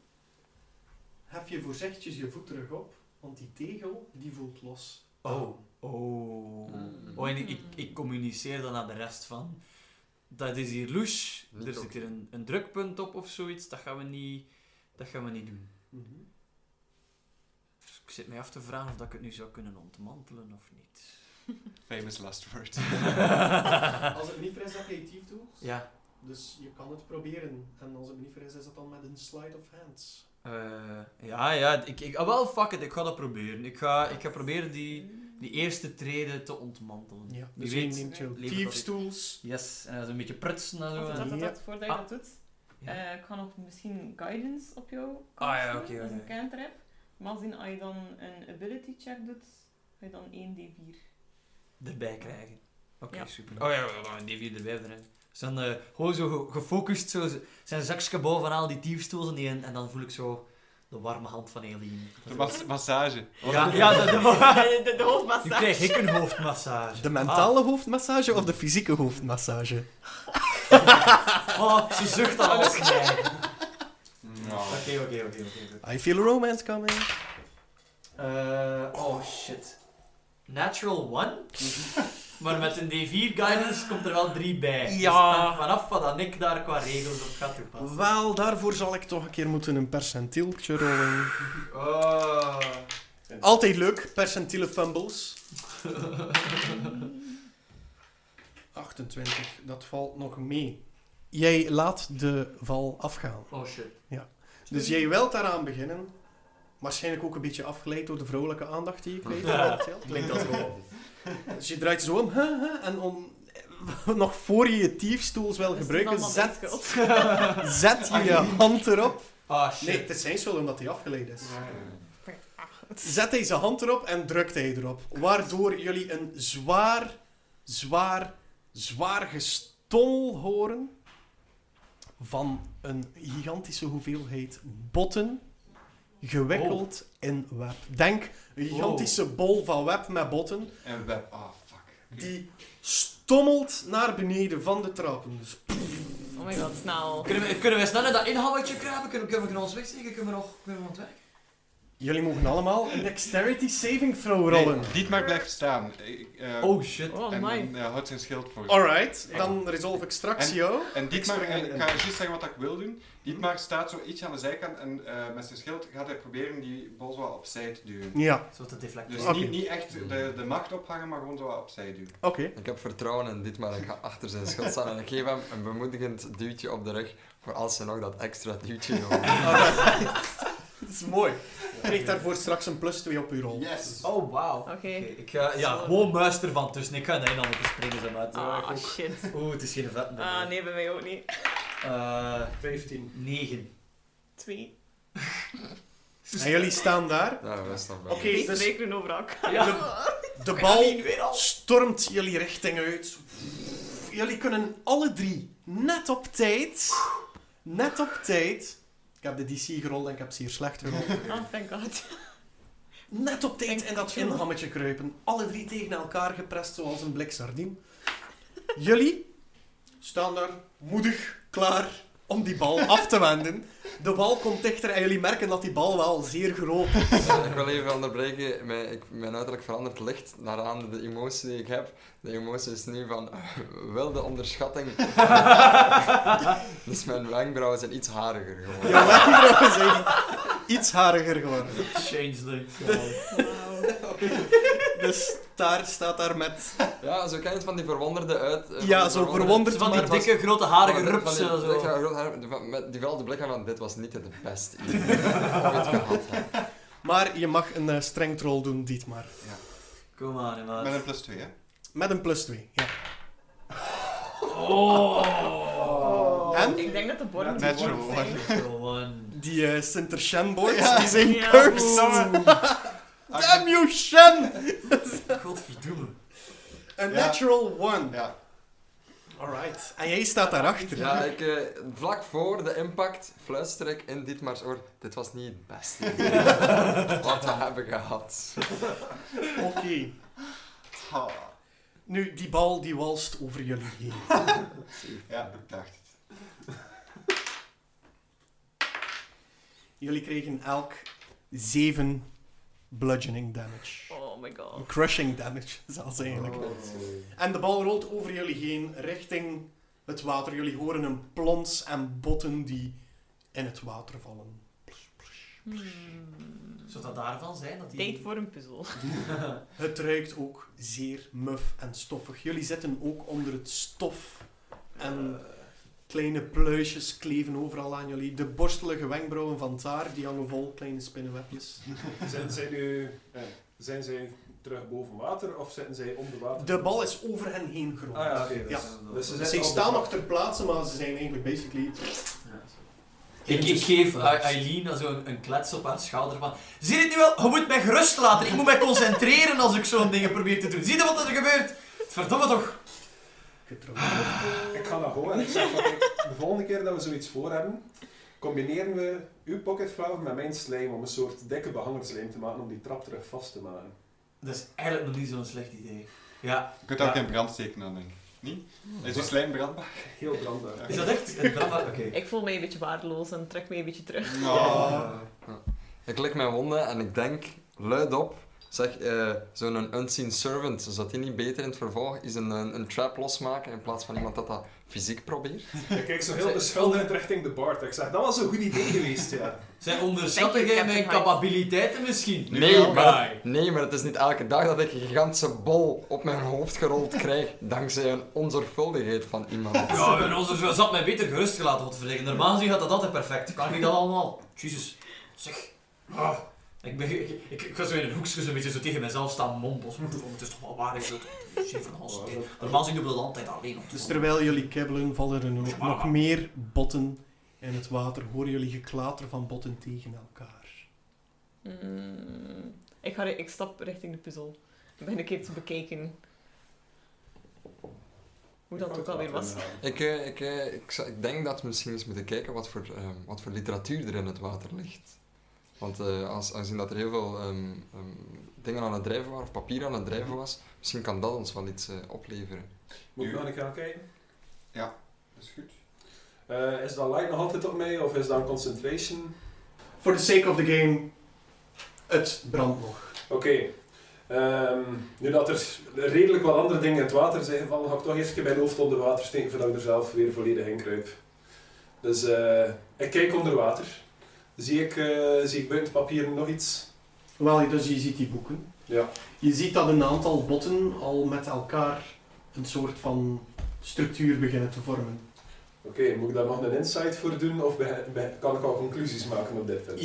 D: hef je voorzichtig je voet terug op, want die tegel die voelt los.
A: Oh. Oh. Oh, en ik, ik, ik communiceer dan naar de rest van. Dat is hier louche.
K: Niet
A: Er
K: op.
A: zit hier een, een drukpunt op of zoiets. Dat gaan we niet, dat gaan we niet doen.
D: Mhm.
A: Dus ik zit mij af te vragen of dat ik het nu zou kunnen ontmantelen of niet.
C: Famous last word.
D: Als het niet ver is, dat je actief doet.
A: ja.
D: Dus je kan het proberen. En als het niet ver is, is dat dan met een slide of hands.
A: Eh, ja, ja. Ik, ik, ah, wel, fuck it. Ik ga dat proberen. Ik ga, ik ga proberen die, die eerste treden te ontmantelen.
D: Ja,
A: Wie
D: dus je
A: weet,
D: neemt jouw
A: lever dat
D: thieves
A: ik-
D: tools.
A: Yes. En dat is een beetje prutsen en zo. en-
E: Dat, dat, dat,
D: Ja.
E: dat, voordat je
A: Ah.
E: dat doet.
A: Ja.
E: Eh, ik kan nog misschien guidance op jou
A: Ah, ja,
E: casten,
A: oké,
E: als
A: oké.
E: een cantrip. Maar zien, als je dan een ability check doet, ga je dan 1d4.
A: erbij krijgen. Oké,
E: Ja.
A: super. Oh ja, ja, ja, een D4 erbij erin. Dus dan eh, gewoon zo ge- gefocust, zo z- zijn zakje bovenaan die tiefstoel en, en dan voel ik zo de warme hand van Eline.
C: De mas- massage.
A: Ja, ja dat- dat-
E: De, de, de
A: nu
E: hoofdmassage.
A: krijg ik een hoofdmassage.
D: De mentale hoofdmassage of de fysieke hoofdmassage?
A: Ah, oh, ze zucht al alles mij.
C: Nou.
A: Oké, oké, oké, oké.
D: I feel romance coming.
A: Eh, Oh shit. Natural one? Mhm. maar met een D4 guidance komt er wel 3 bij.
D: Ja.
A: Dus dan vanaf wat dan ik daar qua regels op ga toepassen.
D: Wel, daarvoor zal ik toch een keer moeten een percentieltje rollen.
A: Oh.
D: Altijd leuk, percentiele fumbles. 28, dat valt nog mee. Jij laat de val afgaan.
A: Oh shit.
D: Dus jij wilt daaraan beginnen. Waarschijnlijk ook een beetje afgeleid door de vrouwelijke aandacht die je kreeg. momenteel.
A: Klinkt als wel.
D: Dus je draait zo om. hè, hè, en om, eh, nog voor je je tiefstoels
E: Dus
D: wil gebruiken, zet, zet je je hand erop.
A: Ah
D: Nee,
A: shit.
D: het is zijn schuld omdat hij afgeleid is.
C: eh,
E: Ah,
D: Zet hij zijn hand erop en drukt hij erop. Waardoor jullie een zwaar, zwaar, zwaar gestommel horen van een gigantische hoeveelheid botten gewikkeld in web. Denk een gigantische bol van web met botten
C: En we... Ah, fuck.
D: die stommelt naar beneden van de trappen. Dus
E: Oh my god, snel.
A: Kunnen we, kunnen we snel in dat inhoudertje kruipen? Kunnen, kunnen we ons wegsteken? Kunnen we nog kunnen we ontwijken?
D: jullie mogen allemaal een dexterity saving throw rollen.
C: Nee, Dietmar blijft staan. Ik, eh,
A: Oh shit.
E: Oh
C: en
E: my.
C: eh, houdt zijn schild voor.
D: Alright, dan resolve ik straks
C: En-
D: jou.
C: En Dietmar,
D: Ik spring
C: en ik
D: erin.
C: ga juist zeggen wat ik wil doen. Dietmar staat zo ietsje aan de zijkant en eh, met zijn schild gaat hij proberen die bol zo wat opzij te duwen.
D: Ja,
A: Zo te deflecteren.
C: Dus
D: Oké.
C: niet, niet echt de, de macht ophangen, maar gewoon zo wat opzij duwen.
D: oké.
B: Ik heb vertrouwen in dit, maar ik ga achter zijn schot staan en ik geef hem een bemoedigend duwtje op de rug voor als ze nog dat extra duwtje nodig
D: Dat is mooi. Je krijgt daarvoor straks een plus 2 op uw rol.
C: Yes!
A: Oh wow.
E: Oké.
A: ik ga, ja, gewoon muis ervan tussen. Ik ga in dat inhoudertje springen, zeg maar. Het-
E: Ah, shit.
A: Oeh, het is geen vet nummer.
E: Ah, nee, bij mij ook niet.
A: Eh,
L: 15.
A: 9.
E: Twee.
D: En jullie staan daar.
B: Ja, we staan bij.
D: Oké,
E: Deze
D: dus-
E: week doen over elkaar.
A: Ja.
D: De bal stormt jullie richting uit. Jullie kunnen alle drie net op tijd. Net op tijd. Ik heb de DC gerold en ik heb ze hier slecht gerold.
E: Oh, thank god.
D: Net op tijd in dat inhammetje kruipen. Alle drie tegen elkaar geprest zoals een blik sardien. Jullie staan daar moedig klaar om die bal af te wenden. De bal komt dichter en jullie merken dat die bal wel zeer groot is.
B: Ja, ik wil even onderbreken. Mijn, ik, mijn uiterlijk verandert licht naar aan de emotie die ik heb. De emotie is nu van wilde onderschatting. dus mijn wenkbrauwen zijn iets hariger geworden.
D: Jouw wenkbrauwen zijn iets hariger geworden.
A: Changeling.
D: Dus daar staat daar met...
B: Ja, zo ken je het van die verwonderde uit. eh,
D: Ja,
B: die
D: zo
B: verwonderde-
D: verwonderd,
A: Van die
D: maar... was-
A: dikke, grote, harige
B: van die-
A: rupsen. en
B: van die-
A: Zo.
B: ja, groot haar- van- met Die wel de blik aan van dit was niet het beste idee dat ik ooit gehad heb.
D: Maar je mag een eh, streng troll doen, Dietmar.
A: Kom aan, maat.
C: Met een plus 2, hè?
D: Met een plus 2, ja.
L: Oh.
D: En?
E: Ik denk dat de borden
L: Net
E: te worden
C: zo,
E: zijn.
A: Natural one.
D: Die eh Sinter Shenboards, die zijn
E: Ja. Ah,
D: cursed. Damn you, Shen!
A: Godverdomme.
D: A
C: Ja.
D: natural one.
C: Ja.
D: Alright. En jij staat daarachter.
B: Ja, ik, eh, vlak voor de impact fluister ik in Dietmar's oor. Dit was niet het beste idee wat we hebben gehad.
D: Oké.
C: Ah.
D: Nu, die bal die walst over jullie heen.
C: Ja, ik dacht het.
D: Jullie kregen elk 7 bludgeoning damage.
E: Oh my god.
D: Crushing damage, zelfs eigenlijk.
B: Oh.
D: En de bal rolt over jullie heen richting het water. Jullie horen een plons en botten die in het water vallen.
E: Hmm.
A: Zou dat daarvan zijn? Dat die...
E: Tijd voor een puzzel.
D: Het ruikt ook zeer muf en stoffig. Jullie zitten ook onder het stof. En kleine pluisjes kleven overal aan jullie. De borstelige wenkbrauwen van Taar, die hangen vol kleine spinnenwebjes.
L: Zijn, zijn, nu, eh, zijn zij terug boven water of zitten zij onder water?
D: De bal is over hen heen gerond.
L: Ah ja, oké. dus-
D: Ja.
L: dus ze
D: Dus
L: zijn
D: zij
L: al
D: staan
L: onder
D: nog ter plaatse, maar ze zijn eigenlijk basically
A: Ik,
L: dus
A: ik geef A- Aileen zo een, een klets op haar schouder van... Zie je het nu wel? Je moet mij gerust laten. Ik moet mij concentreren als ik zo'n dingen probeer te doen. Zie je wat er gebeurt? Verdomme toch.
B: Ik ga naar Ho en ik zeg van, kijk, de volgende keer dat we zoiets voor hebben, combineren we uw pocket flower met mijn slijm om een soort dikke behangerslijm te maken om die trap terug vast te maken.
A: Dat is eigenlijk nog niet zo'n slecht idee. Ja.
M: Je kunt dat ook
A: Ja.
M: in brand steken dan, denk ik. Niet? Is die slijm brandbaar?
B: Heel brandbaar.
A: Is dat echt? een drama? Oké.
E: Ik voel me een beetje waardeloos en trek me een beetje terug.
M: Oh.
C: Ik lik mijn wonden en ik denk luid op. Zeg, eh, zo'n unseen servant, zodat die niet beter in het vervolg is een, een, een trap losmaken in plaats van iemand dat dat fysiek probeert.
B: Ik kijk zo heel
E: oh,
B: beschuldigend richting de Bart. Ik zeg, dat was een goed idee geweest, ja.
A: Zij onderschatten
E: Thank you,
A: jij mijn
E: Captain Mike.
A: capabiliteiten misschien?
M: Nu
C: Nee,
M: wel.
C: maar,
A: Bye.
C: nee, maar het is niet elke dag dat ik een gigantische bol op mijn hoofd gerold krijg dankzij een onzorgvuldigheid van iemand.
A: Ja, mijn onze zat mij beter gerust gelaten wat te verleggen. Normaal gezien gaat dat altijd perfect. Kan ik dat allemaal? Jezus. Zeg. Ah. Ik, ben, ik, ik, ik ga zo in een hoekje zo'n beetje zo tegen mezelf staan mompels. Het is toch wel waar, ik wil toch geen van ons. Normaal gezien doen we dat altijd alleen. op de
N: Dus
A: grond.
N: terwijl jullie kibbelen, vallen er nog, nog meer botten in het water. Horen jullie geklater van botten tegen elkaar.
E: Mm, ik, ga, ik stap richting de puzzel. Ik begin een keer te bekijken. Hoe dat ook alweer was.
C: Ik, eh, ik, eh, ik, zou- ik denk dat we misschien eens moeten kijken wat voor, ehm, wat voor literatuur er in het water ligt. Want eh, als, aangezien dat er heel veel ehm, ehm, dingen aan het drijven waren, of papier aan het drijven was, misschien kan dat ons wel iets eh, opleveren.
B: Moet ik nog een keer aan kijken?
M: Dat is goed.
B: Eh, is dat light nog altijd op mij of is dat een concentration?
D: For the sake of the game, het brandt nog.
B: Oké. Ehm, nu dat er redelijk wat andere dingen in het water zijn gevallen, ga ik toch eerst een keer mijn hoofd onder water steken voordat ik er zelf weer volledig in kruip. Dus eh, ik kijk onder water. Zie ik, eh zie ik buiten het papier nog iets?
D: Wel, dus je ziet die boeken.
B: Ja.
D: Je ziet dat een aantal botten al met elkaar een soort van structuur beginnen te vormen.
B: Oké, moet ik daar nog een insight voor doen of be- be- kan ik al conclusies maken op dit punt?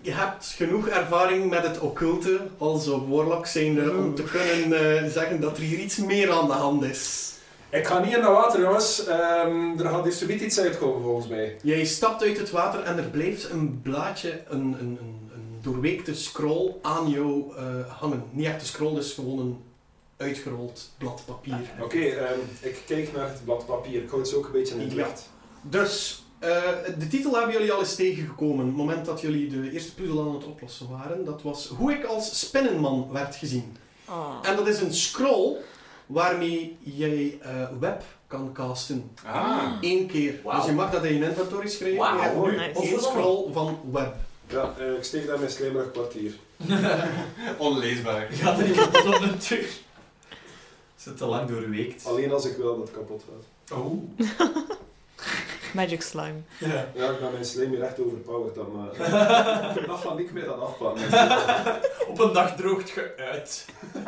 D: Je hebt genoeg ervaring met het occulte als een warlock zijnde om te kunnen eh, zeggen dat er hier iets meer aan de hand is.
B: Ik ga niet in dat water, jongens. Ehm, er gaat hier subiet iets uitkomen volgens mij.
D: Jij stapt uit het water en er blijft een blaadje, een, een, een, een doorweekte scroll aan jou eh, hangen. Niet echt een scroll, dus gewoon een uitgerold blad papier.
B: Oké, ehm, ik kijk naar het blad papier. Ik houd ze ook een beetje in het
D: Ja.
B: licht.
D: Dus, eh, de titel hebben jullie al eens tegengekomen. Het moment dat jullie de eerste puzzel aan het oplossen waren, dat was hoe ik als spinnenman werd gezien.
E: Ah.
D: En dat is een scroll waarmee jij eh, web kan casten.
M: Ah.
D: Eén keer.
A: Wauw.
D: Dus je mag dat in je inventory schrijven.
A: Wauw,
B: Ah,
D: je hebt nu
E: nice.
D: één scroll van web.
B: Ja, eh, ik steek daar mijn slijmerig kwartier.
M: Onleesbaar.
A: Gaat er iemand op de deur? Ze te lang doorweekt.
B: Alleen als ik wil dat het kapot gaat.
A: Oh.
E: Magic slime.
A: Ja.
B: Ja, ik ben mijn slijm hier echt overpowered dan, maar... dat ga ik meer dan afpakken.
A: Op een dag droogt je uit.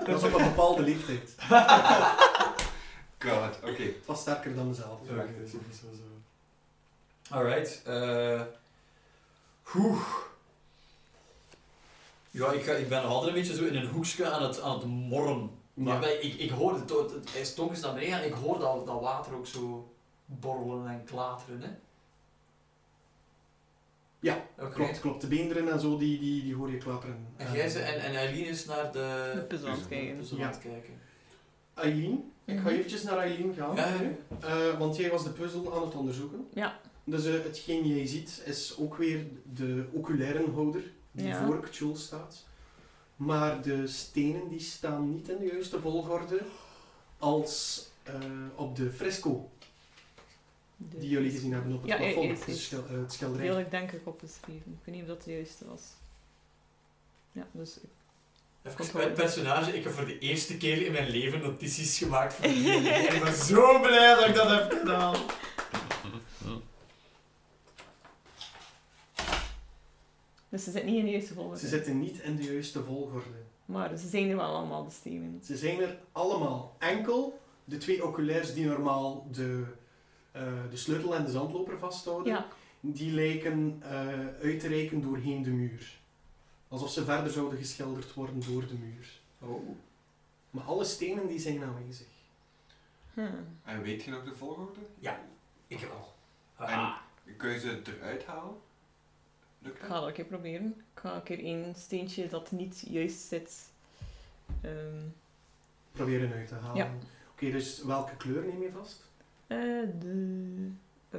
D: Dat is op een bepaalde leeftijd.
M: God, oké.
D: Het was sterker dan mezelf.
A: Ja, oké, dat is niet zo- zo. Alright. eh Oeh. Ja, ik, ga, ik ben nog altijd een beetje zo in een hoekje aan het, aan het morren. Maar
D: Ja.
A: bij- ik, ik hoor het, het, het, hij stonk eens naar beneden en ik hoor dat, dat water ook zo borrelen en klateren, hè?
D: Ja,
A: Oké.
D: Klopt, klopt. De beenderen en zo, die, die, die hoor je klapperen. Eh,
A: En jij ze, en, en Eileen is naar de...
E: De puzzel aan het kijken.
A: de puzzel
D: Ja.
A: aan het kijken.
D: Eileen, ik ga eventjes naar Eileen gaan.
A: Mhm. Ja, ja, ja.
D: Eh, want jij was de puzzel aan het onderzoeken.
E: Ja.
D: Dus eh, hetgeen jij ziet is ook weer de ocularenhouder die
E: Ja.
D: voor Cthulhu staat. Maar de stenen die staan niet in de juiste volgorde als eh, op de fresco die jullie gezien hebben op het
E: Mhm. Ja, ja,
D: plafond.
E: ja, ja,
D: het,
E: ja.
D: schil- eh, het schilderij.
E: Die had ik denk ik opgeschreven. Ik weet niet of dat de juiste was. Ja, dus ik...
A: Even bij het personage, ik heb voor de eerste keer in mijn leven notities gemaakt voor die en Ik ben zo blij dat ik dat heb gedaan.
E: Dus ze zit niet in de juiste volgorde.
D: Ze zitten niet in de juiste volgorde.
E: Maar ze zijn er wel allemaal de stenen.
D: Ze zijn er allemaal. Enkel de twee oculairs die normaal de, eh, de sleutel en de zandloper vasthouden,
E: Ja.
D: die lijken eh, uit te reiken doorheen de muur. Alsof ze verder zouden geschilderd worden door de muur.
A: Oh.
D: Maar alle stenen die zijn aanwezig.
E: Hm.
M: En weet je nog de volgorde?
J: Ah,
A: Ja. Ik heb al.
M: En kun je ze eruit halen?
E: Ik ga dat een keer proberen. Ik ga een keer één steentje dat niet juist zit. Ehm,
D: Proberen uit te halen.
E: Ja.
D: Oké, dus welke kleur neem je vast?
E: eh, de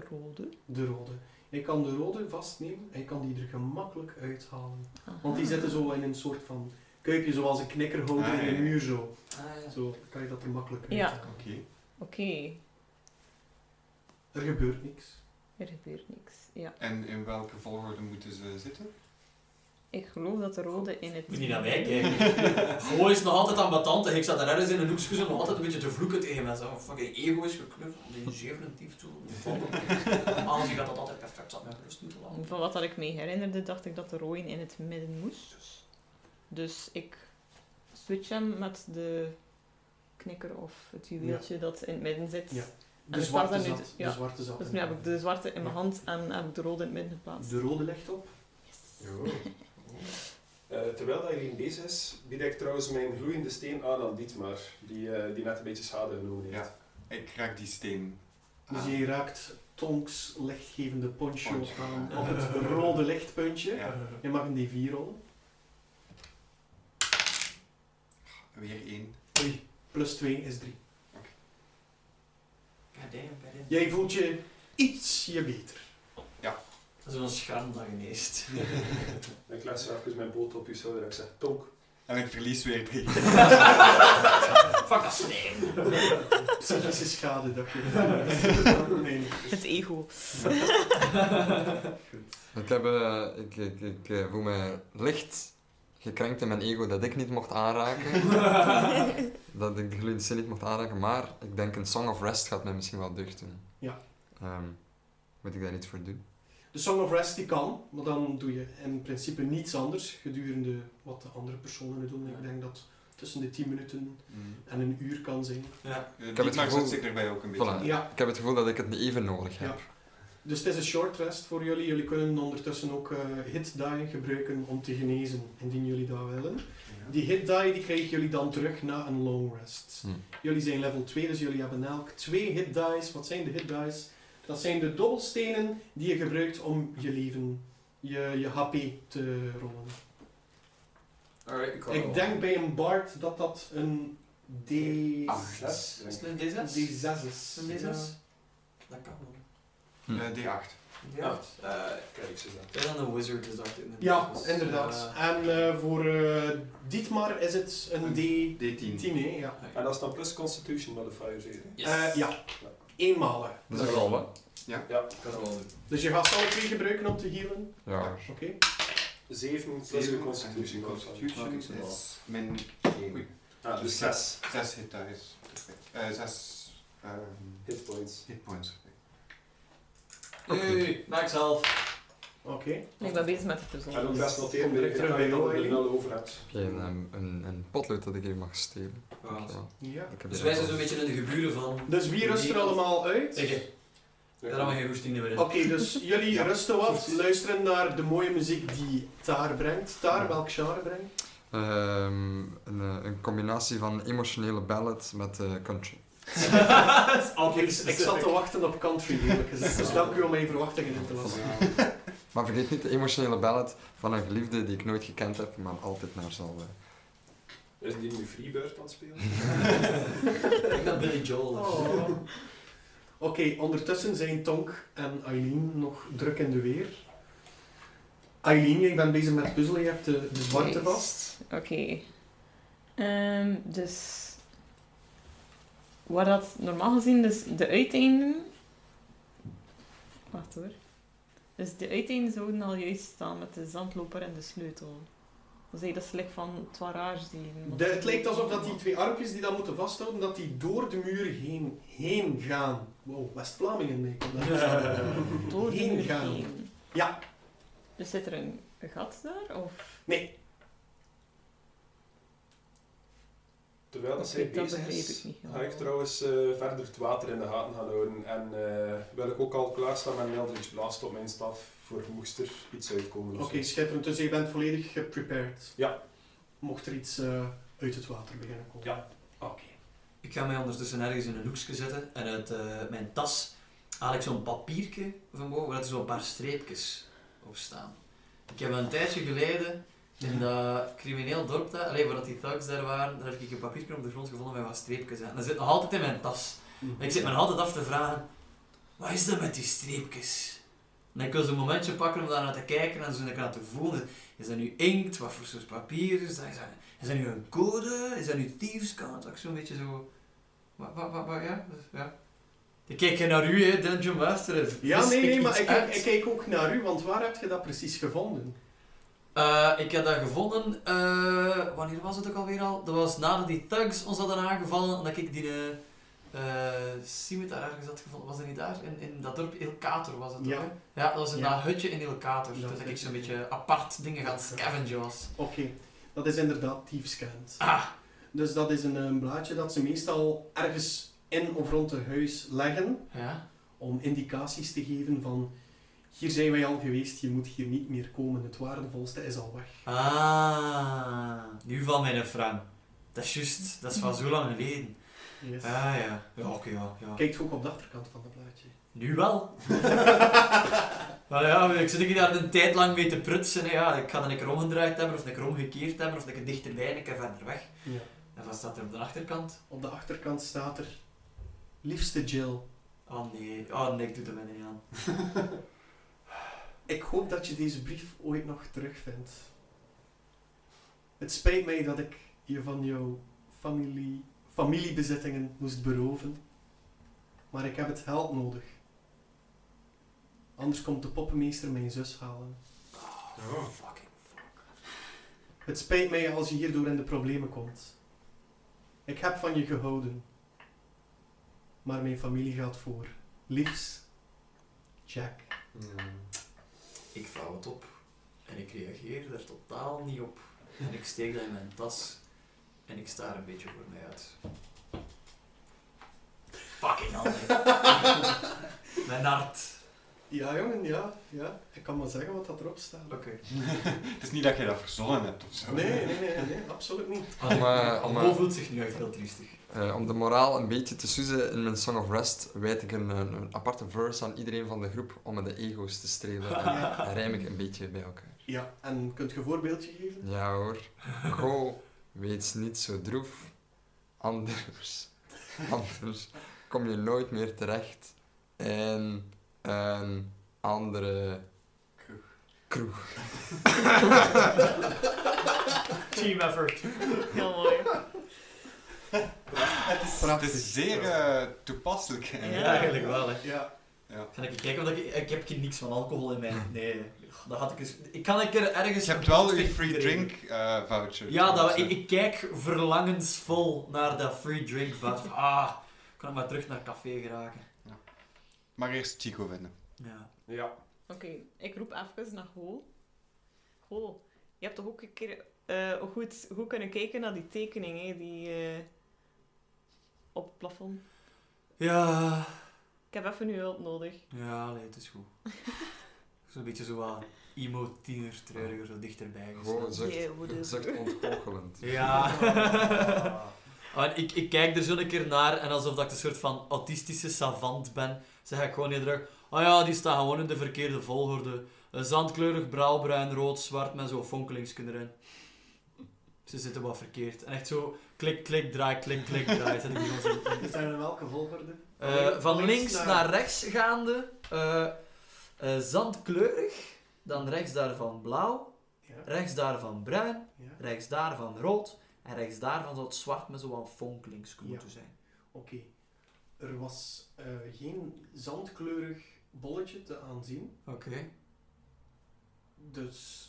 E: rode.
D: De rode. Je kan de rode vastnemen en je kan die er gemakkelijk uithalen.
E: Aha.
D: Want die zitten zo in een soort van kuipje, zoals een knikkerhouder
C: Ah,
D: in
C: ja.
D: de muur zo.
J: Ah, ja.
D: Zo kan je dat er makkelijk
E: Ja.
D: uithalen.
C: Oké.
E: Oké,
D: Er gebeurt niks.
E: er gebeurt niks. Ja.
C: En in welke volgorde moeten ze zitten?
E: Ik geloof dat de rode in het...
J: Moet niet naar mij kijken. Gewoon is nog altijd aan batante. Ik zat daar ergens in een hoekje zo nog altijd een beetje te vloeken tegen mensen. Mijn fucking ego is geknuffeld. Die zevende dief toe. Normaal gezien gaat dat altijd perfect. Zat mij rust moeten laten.
E: Van wat dat ik me herinnerde, dacht ik dat de rode in het midden moest. Dus ik switch hem met de knikker of het juweeltje dat in het midden zit.
D: Ja.
E: En
D: De
E: ik was
D: zwarte
E: daar nu-
D: zat.
E: ja.
D: De zwarte zat.
E: Dus nu heb ik de zwarte in mijn
D: Ja.
E: hand en heb ik de rode in het midden geplaatst.
D: De rode legt op.
B: Eh, terwijl dat jullie bezig is, bied ik trouwens mijn gloeiende steen aan aan Dietmar, die, eh, die net een beetje schade genomen heeft.
C: Ja. Ik raak die steen.
D: Dus
C: aan.
D: je raakt Tonks lichtgevende poncho
C: Ah. Poncho.
D: aan op het rode lichtpuntje.
C: Ja.
D: Je mag een D4 rollen.
C: Weer één.
D: Plus 2 is 3.
J: God damn, bij dit.
D: Jij voelt je ietsje beter.
J: Dat is wel een schram dat geneest.
B: Ik leg zo even mijn boot op je schouder en ik zeg, tonk.
C: En ik verlies weer drie. Eh,
J: Fuck dat sneeuw.
D: Psychische schade dat je. nee.
E: Het ego.
I: Ik, heb, eh, ik, ik, ik eh, voel me licht gekrenkt in mijn ego dat ik niet mocht aanraken. dat ik de gloeiende zin niet mocht aanraken. Maar ik denk een Song of Rest gaat mij misschien wel deugd doen.
D: Ja.
I: Ehm, moet ik daar iets voor doen?
D: De Song of Rest die kan, maar dan doe je in principe niets anders gedurende wat de andere personen doen. Ik denk dat tussen de 10 minuten
C: Mm.
D: en een uur kan zijn.
J: Ja.
C: Ik
I: het gevoel-
C: zit erbij ook een beetje.
I: Voilà.
D: Ja,
I: Ik heb het gevoel dat ik het niet even nodig heb.
D: dus het is een short rest voor jullie. Jullie kunnen ondertussen ook eh hit die gebruiken om te genezen, indien jullie dat willen.
C: Ja.
D: Die hit die, die krijgen jullie dan terug na een long rest.
I: Hmm.
D: Jullie zijn level 2, dus jullie hebben elk twee hit dice. Wat zijn de hit dice? Dat zijn de dobbelstenen die je gebruikt om je leven, je, je HP te rollen.
J: Alright, ik
D: Ik denk bij een bard dat dat een D...
B: Acht, hè?
J: Is het een D6? Is
D: D6 is.
J: het een D6?
D: Ja.
J: Dat kan wel.
I: Hm.
C: Eh, D8.
J: Ja. Eh,
B: Kijk, ze dat.
J: Ik ben dan een wizard, dus dat
D: Ja, inderdaad. En eh, voor eh, Dietmar is het een D10,
C: D10.
D: hè? Ja.
J: Eh,
B: En dat is dan plus Constitution modifier, zeg je?
D: Eh, ja, eenmalig.
I: Dat is rollen.
B: Ja,
J: Ik kan het wel doen.
D: Dus je gaat ze alle twee gebruiken om te healen.
I: Ja.
D: Oké.
B: 7 plus
C: Zeven.
B: je
D: dus
B: Constitution
C: En
B: modifier.
C: Constitution is mijn
B: Oei.
C: 1.
B: Ah, dus 6
C: Zes hit dice. Perfect. Eh, zes ehm,
B: hitpoints.
C: hit points. Perfect.
J: Hey, maak zelf.
D: Oké.
E: Ik ben bezig met het puzzel.
B: En ook best noteren
D: dus Kom direct
B: bij
D: terug bij
B: bij
D: jou,
B: dat je er
D: Eileen.
B: nul over hebt.
I: Heb je een, ehm, een, een potlood dat ik hier mag stelen? Dankjewel.
D: Ja.
I: Ik heb
J: Dus
I: hier
J: wij
I: al-
J: zijn zo'n beetje in de geburen van.
D: Dus wie rust er allemaal uit?
J: Zeg je, daar hebben we geen goestine meer in.
D: Oké, dus jullie
C: Ja.
D: rusten wat, luisteren naar de mooie muziek die Taar brengt. Taar, welk genre brengt?
I: Ehm, een, eh, een combinatie van emotionele ballad met eh, country.
J: Dat is
D: Ik,
J: altijd
D: ik zat te wachten op country, eerlijk gezegd. Dus dank u om mijn verwachtingen in te lassen.
I: Maar vergeet niet de emotionele ballad van een geliefde die ik nooit gekend heb, maar altijd naar zal. eh,
B: Is die nu Freebird aan het spelen?
J: Ik ben Billy Joel.
D: Oh. Oké, ondertussen zijn Tonk en Eileen nog druk in de weer. Eileen, jij bent bezig met puzzelen, je hebt de, de zwarte
E: Juist.
D: vast.
E: Oké. Ehm, dus... Waar dat normaal gezien dus de uiteinden... Wacht hoor. Dus de uiteinden zouden al juist staan met de zandloper en de sleutel. Dan zei je dat slecht van het waarage zien.
D: De- het lijkt alsof dat die twee armpjes die dat moeten vasthouden, dat die door de muur heen, heen gaan. Wow, West-Vlamingen, nee. ik kom daar niet aan.
E: Door de
D: heen
E: muur
D: gaan.
E: heen.
D: Ja.
E: Dus zit er een gat daar? Of...
B: Terwijl dat
E: Oké,
B: zij
E: dat
B: bezig
E: begreep
B: is,
E: ik niet
B: ga ik
E: helemaal.
B: trouwens eh, verder het water in de gaten gaan houden. En eh, wil ik ook al klaarstaan met een Eldritch Blast op mijn staf, voor moest er iets uitkomen. of
D: Oké,
B: zo.
D: schitterend. Dus je bent volledig geprepared.
B: Ja.
D: Mocht er iets eh, uit het water beginnen komen.
B: Ja.
D: Oké.
J: Ik ga mij ondertussen ergens in een hoekje zetten en uit eh, mijn tas haal ik zo'n papiertje van boven waar er zo'n paar streepjes op staan.
A: Ik heb een tijdje geleden in dat crimineel dorp, daar, allee, waar dat die thugs daar waren, daar heb ik een papiertje op de grond gevonden met wat streepjes aan. Dat zit nog altijd in mijn tas. En Mm.
D: Mhm.
A: ik zit me nog altijd af te vragen, wat is dat met die streepjes? En ik wil zo'n momentje pakken om daar naar te kijken en zo naar aan te voelen. Is dat nu inkt? Wat voor soort papier is dat? Is dat, is dat nu een code? Is dat nu diefskant? Dat ik zo'n beetje zo... Wat, wat, wat, wat, ja? dus, ja. Ik kijk naar u, hè, Dungeon Master.
D: Ja,
A: Vis
D: nee, nee,
A: iets
D: maar ik,
A: uit?
D: kijk- ik kijk ook naar u, want waar heb je dat precies gevonden?
A: Eh, ik heb dat gevonden. eh, wanneer was het ook alweer al? Dat was nadat die thugs ons hadden aangevallen. Dat ik die eh eh, scimitar ergens had gevonden. Was dat niet daar? In, in dat dorp Ilkator was het
D: Ja.
A: toch? hè? Ja, dat was in
D: Ja.
A: dat hutje in Ilkator.
D: Dat
A: Toen dat ik
D: hutje.
A: zo'n beetje apart dingen gaan scavengen was.
D: Oké, dat is inderdaad diefskend.
A: Ah.
D: Dus dat is een, eh, blaadje dat ze meestal ergens in of rond het huis leggen
A: Ja.
D: om indicaties te geven van hier zijn wij al geweest, je moet hier niet meer komen, het waardevolste is al weg.
A: Ah, nu valt mij een frame. Dat is juist, dat is van zo lang geleden.
D: Yes.
A: Ah ja, ja oké, ja, ja.
D: Kijkt ook op de achterkant van dat blaadje.
A: Nu wel. maar ja, ik zit hier daar een tijd lang mee te prutsen. hè. Ja, ik ga dan een keer omgedraaid hebben, of een keer omgekeerd hebben, of een keer dichterbij, een keer verder weg.
D: Ja.
A: En wat staat er op de achterkant?
D: Op de achterkant staat er liefste Jill.
A: Oh nee, oh nee, ik doe er mij niet aan.
D: Ik hoop dat je deze brief ooit nog terugvindt. Het spijt mij dat ik je van jouw familie, familiebezittingen moest beroven. Maar ik heb het geld nodig. Anders komt de poppenmeester mijn zus halen.
A: Oh, fucking fuck.
D: Het spijt mij als je hierdoor in de problemen komt. Ik heb van je gehouden. Maar mijn familie gaat voor. Liefs, Jack.
C: Mm.
A: Ik vouw het op. En ik reageer er totaal niet op. En ik steek dat in mijn tas. En ik sta er een beetje voor mij uit. Fucking hell. mijn hart.
D: Ja, jongen, ja, ja. Ik kan maar zeggen wat dat erop staat.
A: Oké.
C: Het is niet dat je dat verzonnen hebt of zo.
D: Nee, nee, nee, nee, absoluut niet.
I: Om, eh, om, eh,
A: Bo voelt zich nu echt heel triestig.
I: eh, om de moraal een beetje te soezen in mijn Song of Rest, wijd ik een, een, een aparte verse aan iedereen van de groep om met de ego's te strelen. En, en rijm ik een beetje bij elkaar.
D: Ja, en kunt je een voorbeeldje geven?
I: Ja hoor. Go, wees niet zo droef. Anders, anders kom je nooit meer terecht in een andere kroeg.
J: Team effort.
E: Heel mooi.
C: Het is zeer eh, toepasselijk.
E: Ja.
J: eigenlijk wel, hè.
D: Ja.
A: Ga ik kijken, want ik, ik heb geen niks van alcohol in mijn... Nee, dat had ik eens... Ik kan een keer ergens...
C: Je hebt
A: een
C: wel
A: proefstuk
C: je free
A: krijgen.
C: drink eh, voucher.
A: Ja, dat, ik, ik kijk verlangensvol naar dat free drink van... Ah, ik kan maar terug naar café geraken.
C: Maar eerst Chico vinden.
A: Ja.
B: Ja.
E: Oké, ik roep even naar Ho. Ho, je hebt toch ook een keer eh, goed, goed kunnen kijken naar die tekening, hè, die eh, op het plafond.
A: Ja,
E: Ik heb even uw hulp nodig.
A: ja, nee, het is goed. Zo'n beetje zo wat emo-tiener treuriger zo dichterbij
I: Gewoon
A: gestaan.
I: zucht,
E: Yeah, whatever.
I: zucht ontgoochelend.
A: Ja. Ah, en ik, ik kijk er zo een keer naar en alsof dat ik een soort van autistische savant ben, zeg ik gewoon heel druk. Ah ja, die staan gewoon in de verkeerde volgorde. Eh, Zandkleurig, blauwbruin, rood, zwart met zo'n fonkelingsken erin. Ze zitten wat verkeerd. En echt zo klik, klik, draai, klik, klik, draai. Zet ik die gewoon zo in.
D: Is dat in welke volgorde?
A: Eh, van links naar rechts gaande, eh, eh, zandkleurig, dan rechts daarvan blauw,
D: Ja,
A: rechts daarvan bruin,
D: ja. Oké.
A: rechts daarvan rood en rechts daarvan zou het zwart met zo'n fonkelingskleur
D: Ja.
A: moeten zijn.
D: Er was eh, geen zandkleurig bolletje te aanzien.
A: Oké.
D: Dus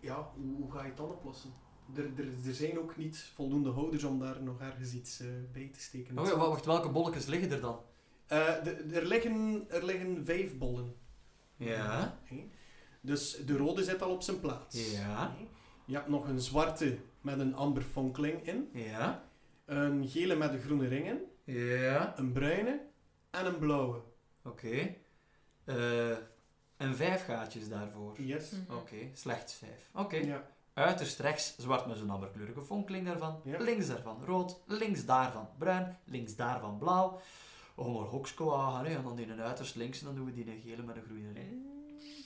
D: ja, hoe, hoe ga je het dan oplossen? Er, er, er zijn ook niet voldoende houders om daar nog ergens iets eh, bij te steken.
A: Oh ja, wa- wacht, welke bolletjes liggen er dan?
D: Eh, de- er, liggen, er liggen vijf bollen.
A: Ja.
D: Hé. Dus de rode zit al op zijn plaats.
A: Ja.
D: Hé. Je hebt nog een zwarte met een amberfonkeling in,
A: Ja.
D: een gele met een groene ring in,
A: Ja.
D: een bruine en een blauwe.
A: Oké. Eh, en vijf gaatjes daarvoor. Oké,
D: Yes.
E: Mhm.
A: slechts vijf. Oké.
D: Ja.
A: Uiterst rechts zwart met zo'n amberkleurige fonkeling daarvan.
D: Ja.
A: Links daarvan rood. Links daarvan bruin. Links daarvan blauw. Oh, maar hokskoa, hè. En dan die een uiterst links en dan doen we die een gele met een groene ring.
E: Eh,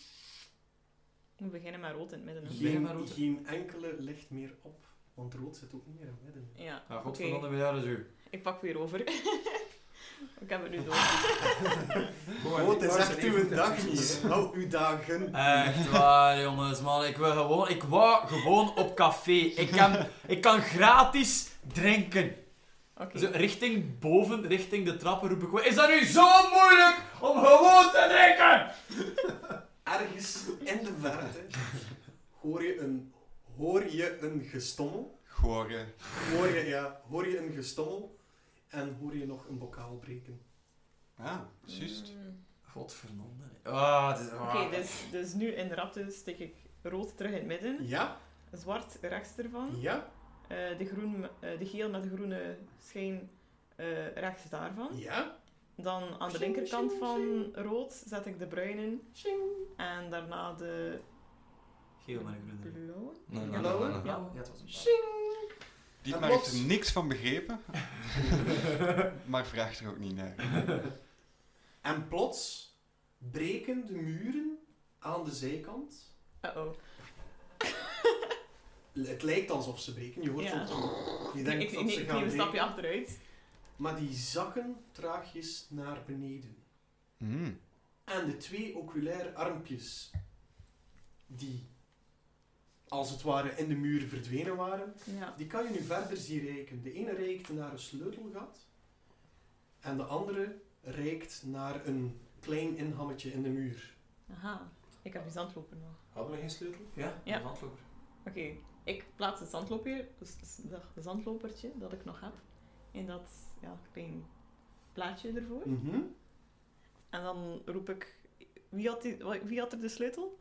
E: We beginnen met rood in het midden. hè.
A: Begin
D: Geen,
A: maar rood.
D: geen enkele licht meer op, want rood zit ook niet meer in het midden.
E: Ja,
A: Ja,
E: oké.
A: Ah, godverdomme dus miljarden zo.
E: Ik pak weer over. ik heb het nu
A: Ah,
E: door.
A: Oh,
D: Rood Oh, is echt uw dag niet. Hou uw dagen.
A: Echt waar, jongens, man. Ik wil gewoon... Ik wou gewoon op café. Ik kan, ik kan gratis drinken.
E: Oké.
A: Zo, richting boven, richting de trappen roep ik... gewoon, Is dat nu zo moeilijk om gewoon te drinken?
D: Ergens in de verte hoor je een, hoor je een gestommel.
C: Goren.
D: Hoor je, ja, hoor je een gestommel en hoor je nog een bokaal breken.
C: Ah, juist.
E: Mm.
A: Godverdomme. Ah, het is... ah.
E: Oké, dus, dus nu in de rapte steek ik rood terug in het midden.
D: Ja,
E: Zwart rechts ervan.
D: ja,
E: Eh, de, groen, eh, de geel met de groene schijn eh, rechts daarvan.
D: ja.
E: Dan aan de linkerkant van rood zet ik de bruine. in. En daarna de
A: Geel met een groene.
E: blauwe.
A: Mm.
I: Nee, nee,
E: Hallo?
I: nee, nee, nee.
E: Ja.
A: Ja, het was een
C: Die
D: En
C: maar heeft
D: plots-
C: er niks van begrepen. maar vraagt er ook niet naar.
D: En plots breken de muren aan de zijkant
E: Uh-oh.
D: Het lijkt alsof ze breken. Je hoort
E: Ja.
D: zo... Je
E: Ik,
D: denkt
E: ik,
D: dat
E: ik
D: ze
E: neem
D: gaan
E: een
D: breken.
E: stapje achteruit.
D: Maar die zakken traagjes naar beneden.
C: Mm.
D: En de twee oculaire armpjes, die als het ware in de muur verdwenen waren,
E: Ja.
D: die kan je nu verder zien reiken. De ene reikt naar een sleutelgat en de andere reikt naar een klein inhammetje in de muur.
E: Aha. Ik heb die zandloper nog.
B: Hadden we geen sleutel?
A: Ja,
E: Ja.
A: een zandloper.
E: Oké, ik plaats het zandloper, dus dat zandlopertje dat ik nog heb in dat ja, klein plaatje ervoor.
D: Mhm.
E: En dan roep ik, wie had, die, wa- wie had er de sleutel?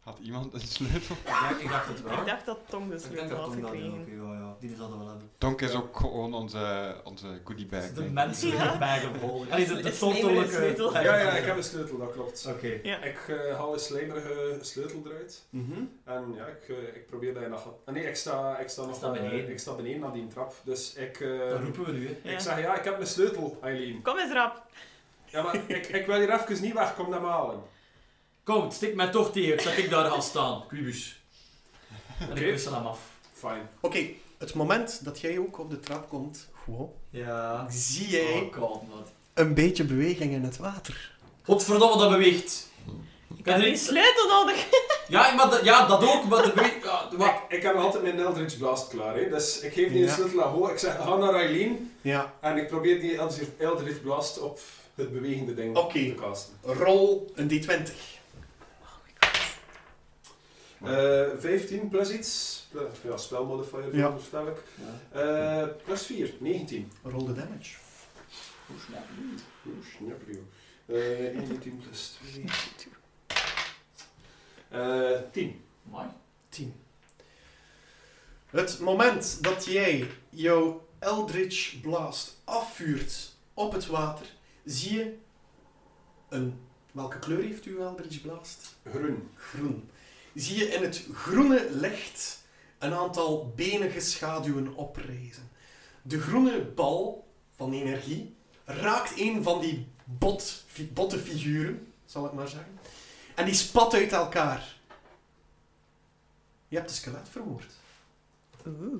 C: Had iemand een sleutel?
A: Ja, ik dacht het wel.
E: Ik dacht dat Tom de
A: Ik denk
E: sleutel
A: dat
E: had
A: Tom dat ook,
E: gekregen.
A: ja, ja. Die zal dat wel hebben.
C: Tonk is ook gewoon onze, onze goodiebag.
A: Het is De
C: denk ik.
A: menselijke bag of holding. Allee, de, de
E: Is Slijmer een sleutel?
A: totale...
B: Ja, ja, ik heb een sleutel, dat klopt.
A: Oké.
E: Ja.
B: Ik eh, haal een slijmerige sleutel eruit.
D: Mhm.
B: En ja, ik, eh, ik probeer dat je nog... Ah, Nee, ik sta, ik sta nog...
A: staat
B: eh,
A: beneden.
B: ik sta beneden aan die trap. Dus ik... eh,
A: Dat roepen we nu, hè.
E: Ja.
B: Ik zeg, ja, ik heb mijn sleutel, Eileen.
E: Kom eens rap.
B: Ja, maar ik, ik wil hier even niet weg, kom naar malen.
A: Kom, stik mij toch tegen, zodat ik daar ga staan. Quibus. En ik
B: Oké.
A: wissel hem af.
B: Fijn.
D: Oké, het moment dat jij ook op de trap komt, gewoon,
A: Ja.
D: zie jij
A: Oh god, man.
D: een beetje beweging in het water.
A: Godverdomme, dat beweegt. Ben
E: Ik heb
A: er
E: die
A: iets-
E: sleutel nodig.
A: Ja, maar dat, ja, dat ook, maar dat beweegt... Ja, wat?
B: Ik, ik heb altijd mijn Eldritch Blast klaar, hè. dus ik geef die
D: Ja.
B: een sleutel aan Ho. Ik zeg, ga naar Eileen.
D: Ja,
B: En ik probeer die Eldritch- Eldritch Blast op het bewegende ding
D: Oké.
B: te casten.
D: rol een d20.
B: Eh 15 plus iets. Plus- Ja, spelmodifier,
D: Ja.
B: ja. stel ik. Eh, plus 4, 19.
D: Roll the damage.
B: Oeh, snapper, joh. Eh, 19 plus 2. Eh 10.
A: Amai.
D: 10. Het moment dat jij jouw Eldritch Blast afvuurt op het water, zie je een... Welke kleur heeft uw Eldritch Blast?
B: Groen.
D: Groen. Zie je in het groene licht een aantal benige schaduwen oprijzen. De groene bal van energie raakt een van die bot, fi- botte figuren, zal ik maar zeggen. En die spat uit elkaar. Je hebt de skelet vermoord.
E: Oeh.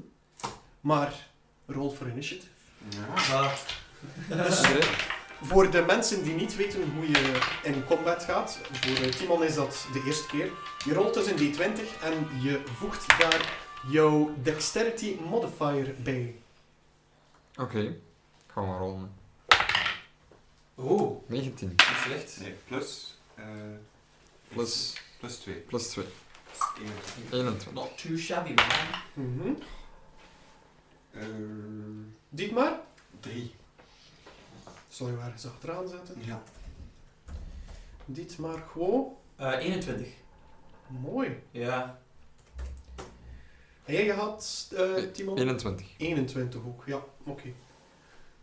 D: Maar roll for initiative.
A: Ja.
D: Voor de mensen die niet weten hoe je in combat gaat, voor eh, Timon is dat de eerste keer. Je rolt dus een d20 en je voegt daar jouw dexterity modifier bij.
I: Oké, gaan we maar rollen.
A: Oh,
I: 19
A: niet slecht.
C: Nee, plus... eh,
I: plus,
C: plus 2.
I: plus 2.
C: Dat is 21.
I: 21.
A: Not too shabby, man.
C: Eh,
D: Mhm. Dit maar.
C: 3.
D: Zal je maar eens achteraan zetten.
C: Ja.
D: Dit maar gewoon.
A: Eh 21.
D: Mooi.
A: Ja.
D: En jij had, eh, Timon?
I: 21.
D: 21 ook, ja. Oké.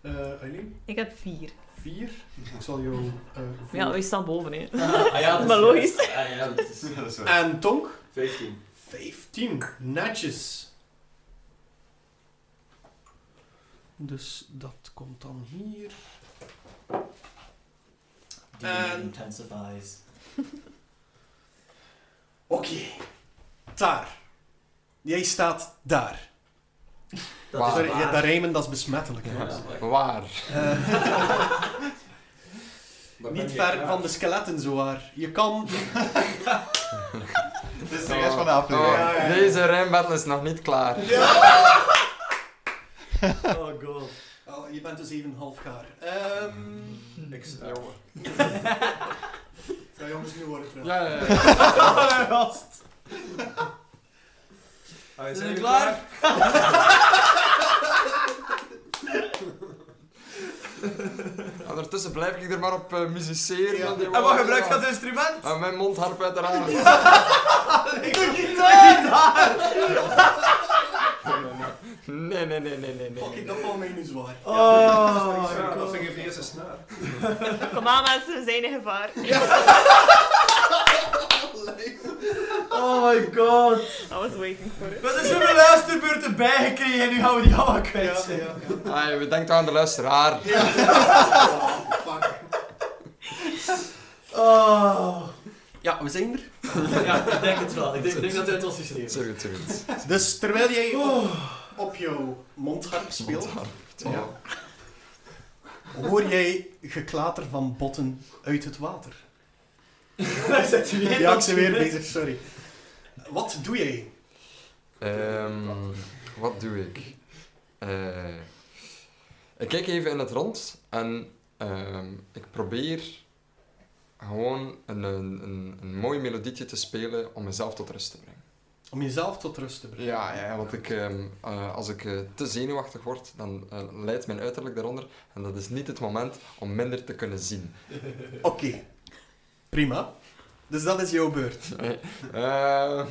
D: Eh, Eileen?
E: Ik heb vier.
D: 4. Ik zal jou... eh,
E: Ja,
D: voor-
E: wij staan boven, hè.
A: Ah, ja, dat is-
E: Maar logisch.
A: Ah, ja, dat is...
C: Dat is waar.
D: En Tonk?
B: 15.
D: 15 netjes. Dus dat komt dan hier.
A: Die
D: En-
A: Eh. intensifies.
D: Daar. Jij staat daar.
A: Dat
C: Waar?
D: Sorry,
A: is
D: ja,
A: waar.
D: dat rijmen, dat is besmettelijk. hè.
C: Waar?
D: Eh,
B: Daar ben
D: niet
B: je
D: ver
B: klaar.
D: van de skeletten, zowaar. Je kan...
O: Dit is de rest van de aflevering.
C: Oh, Deze rijmbattle is nog niet klaar.
A: Oh god.
D: Oh, je bent dus even half gaar. Ehm
B: Ik sta.
D: Zou jongens nu worden trouwens?
C: Ja, ja, ja.
B: Ah,
A: Zijn
B: jullie
A: we klaar?
C: Ondertussen blijf ik er maar op eh, musiceren.
D: Ja.
C: want die
D: En
A: En wat
C: worden-
A: gebruikt dat instrument?
C: En mijn mondharp uiteraard.
A: De gitaar!
C: Nee, nee, nee, nee, nee. nee.
D: Fuck, ik dat valt mij nu zwaar.
A: Oh,
B: Ja, dat vind ik even eerst een snaar.
E: Kom aan mensen, we zijn in gevaar.
A: oh my god.
E: I was waiting for it.
A: We hebben zoveel luisterbeurten bijgekregen en nu gaan we die allemaal kwijt.
D: Ja, ja, ja.
C: Ah, we denken aan de luisteraar.
D: Oh, fuck.
A: Oh.
D: Ja, we zijn er.
A: Ja, ik denk het wel. Ik denk, ik denk dat het uit ons systeem is.
C: Sorry, sorry.
D: Dus terwijl jij op, op jouw mondharp speelt,
C: Oh.
D: Oh.
C: Ja.
D: hoor jij geklater van botten uit het water.
A: Daar zit je weer.
D: Ja, ik ben weer bezig, sorry. Wat doe jij?
C: Ehm, wat doe ik? Eh, ik kijk even in het rond en ehm, ik probeer gewoon een, een, een, een mooi melodietje te spelen om mezelf tot rust te brengen.
D: Om jezelf tot rust te brengen.
C: Ja, ja want ik, ehm, eh, als ik eh, te zenuwachtig word, dan eh, leidt mijn uiterlijk daaronder. En dat is niet het moment om minder te kunnen zien.
D: Oké. Prima. Dus dat is jouw beurt.
C: Ehm,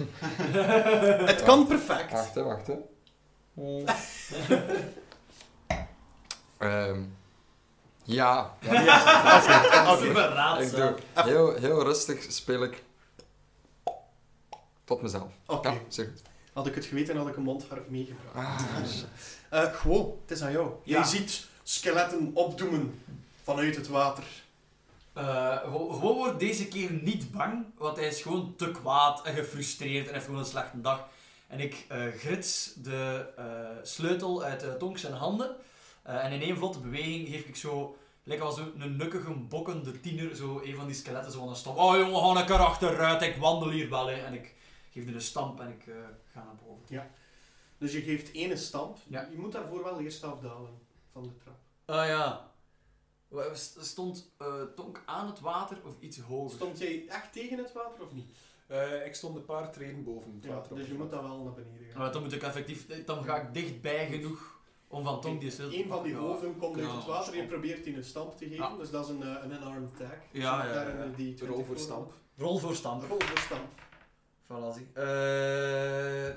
D: Het kan perfect.
C: wacht, hè, wacht. Hè. Ehm, ja,
A: Dat is
D: Oké.
A: een
C: ik doe
A: raadsel.
C: heel, heel rustig speel ik tot mezelf.
D: Oké.
C: Ja, zeker.
D: Had ik het geweten, had ik een mondharp meegebracht.
C: Ah,
D: Eh gewoon, het is aan jou.
A: Ja.
D: Je ziet skeletten opdoemen vanuit het water.
A: Eh, gewo- gewoon wordt deze keer niet bang, want hij is gewoon te kwaad en gefrustreerd en heeft gewoon een slechte dag. En ik eh, grits de eh, sleutel uit eh Tonk zijn handen. Eh, en in één vlotte beweging geef ik zo, lekker als een nukkige, bokkende tiener, zo een van die skeletten zo aan een stamp. Oh jongen, ga ik achteruit, ik wandel hier wel. Hè. En ik geef er een stamp en ik eh, ga naar boven.
D: Dus je geeft ene stamp.
A: Ja.
D: Je moet daarvoor wel eerst afdalen van de trap.
A: Ah ja. Wa- st- Stond eh, Tonk aan het water of iets hoger?
D: Stond jij echt tegen het water of niet?
B: Eh, ik stond een paar treden boven het
D: Ja,
B: water op.
D: dus je moet dat wel naar beneden gaan.
A: Maar dan moet ik effectief, dan ga ik dichtbij genoeg om van Tom die is
D: Eén van die hoofden komt uit
A: Ja,
D: het water. Je
A: stamp.
D: probeert die een stamp te geven.
A: Ja.
D: Dus dat is een, eh, een unarmed tag.
A: Ja,
D: Dus
A: ja,
D: daar
B: ja.
D: in Die
B: De
D: 20
B: rol voor
D: voor-
B: stamp.
A: Rol voor stamper.
D: Rol voor stamp.
A: Voilà, zie. Eh,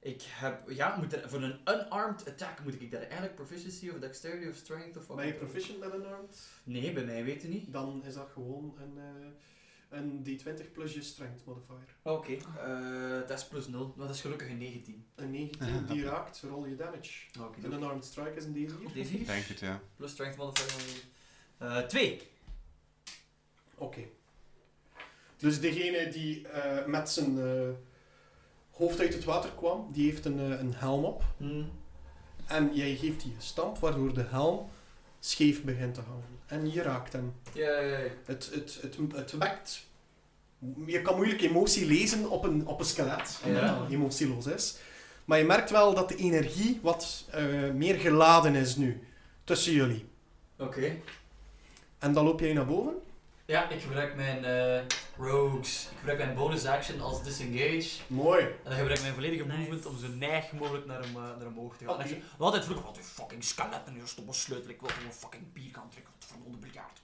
A: ik heb, ja, ik moet er, voor een unarmed attack moet ik daar eigenlijk proficiency of dexterity of strength of wat
D: Ben je
A: dan ook.
D: proficient met unarmed?
A: Nee, bij mij weet u niet.
D: Dan is dat gewoon een, eh, een D20 plus je strength modifier.
A: Oké. Eh, dat is plus 0, maar dat is gelukkig een 19.
D: Een 19 die raakt, rol je damage.
A: Oké.
D: Een unarmed strike is een D4.
A: Deze hier,
O: Denk het, ja.
A: plus strength modifier. Eh 2.
D: Oké. Dus degene die eh, met zijn eh, hoofd uit het water kwam, die heeft een, eh, een helm op.
A: Hmm.
D: En jij geeft die een stamp, waardoor de helm scheef begint te hangen. En je raakt hem.
A: Ja, ja, ja.
D: Het, het, het, het wekt... Je kan moeilijk emotie lezen op een, op een skelet, omdat
A: Ja.
D: dat emotieloos is. Maar je merkt wel dat de energie wat eh, meer geladen is nu, tussen jullie.
A: Oké.
D: En dan loop jij naar boven.
A: Ja, ik gebruik mijn eh, rogues. Ik gebruik mijn bonus action als disengage.
D: Mooi.
A: En dan gebruik ik mijn volledige
E: Nice.
A: movement om zo neig mogelijk naar, hem, eh, naar omhoog te gaan.
D: Oké.
A: En ik zeg, wat altijd vroeger, wat een fucking skeletten, je stomme sleutel, ik wil gewoon een fucking bier gaan drinken, wat voor een biljaard.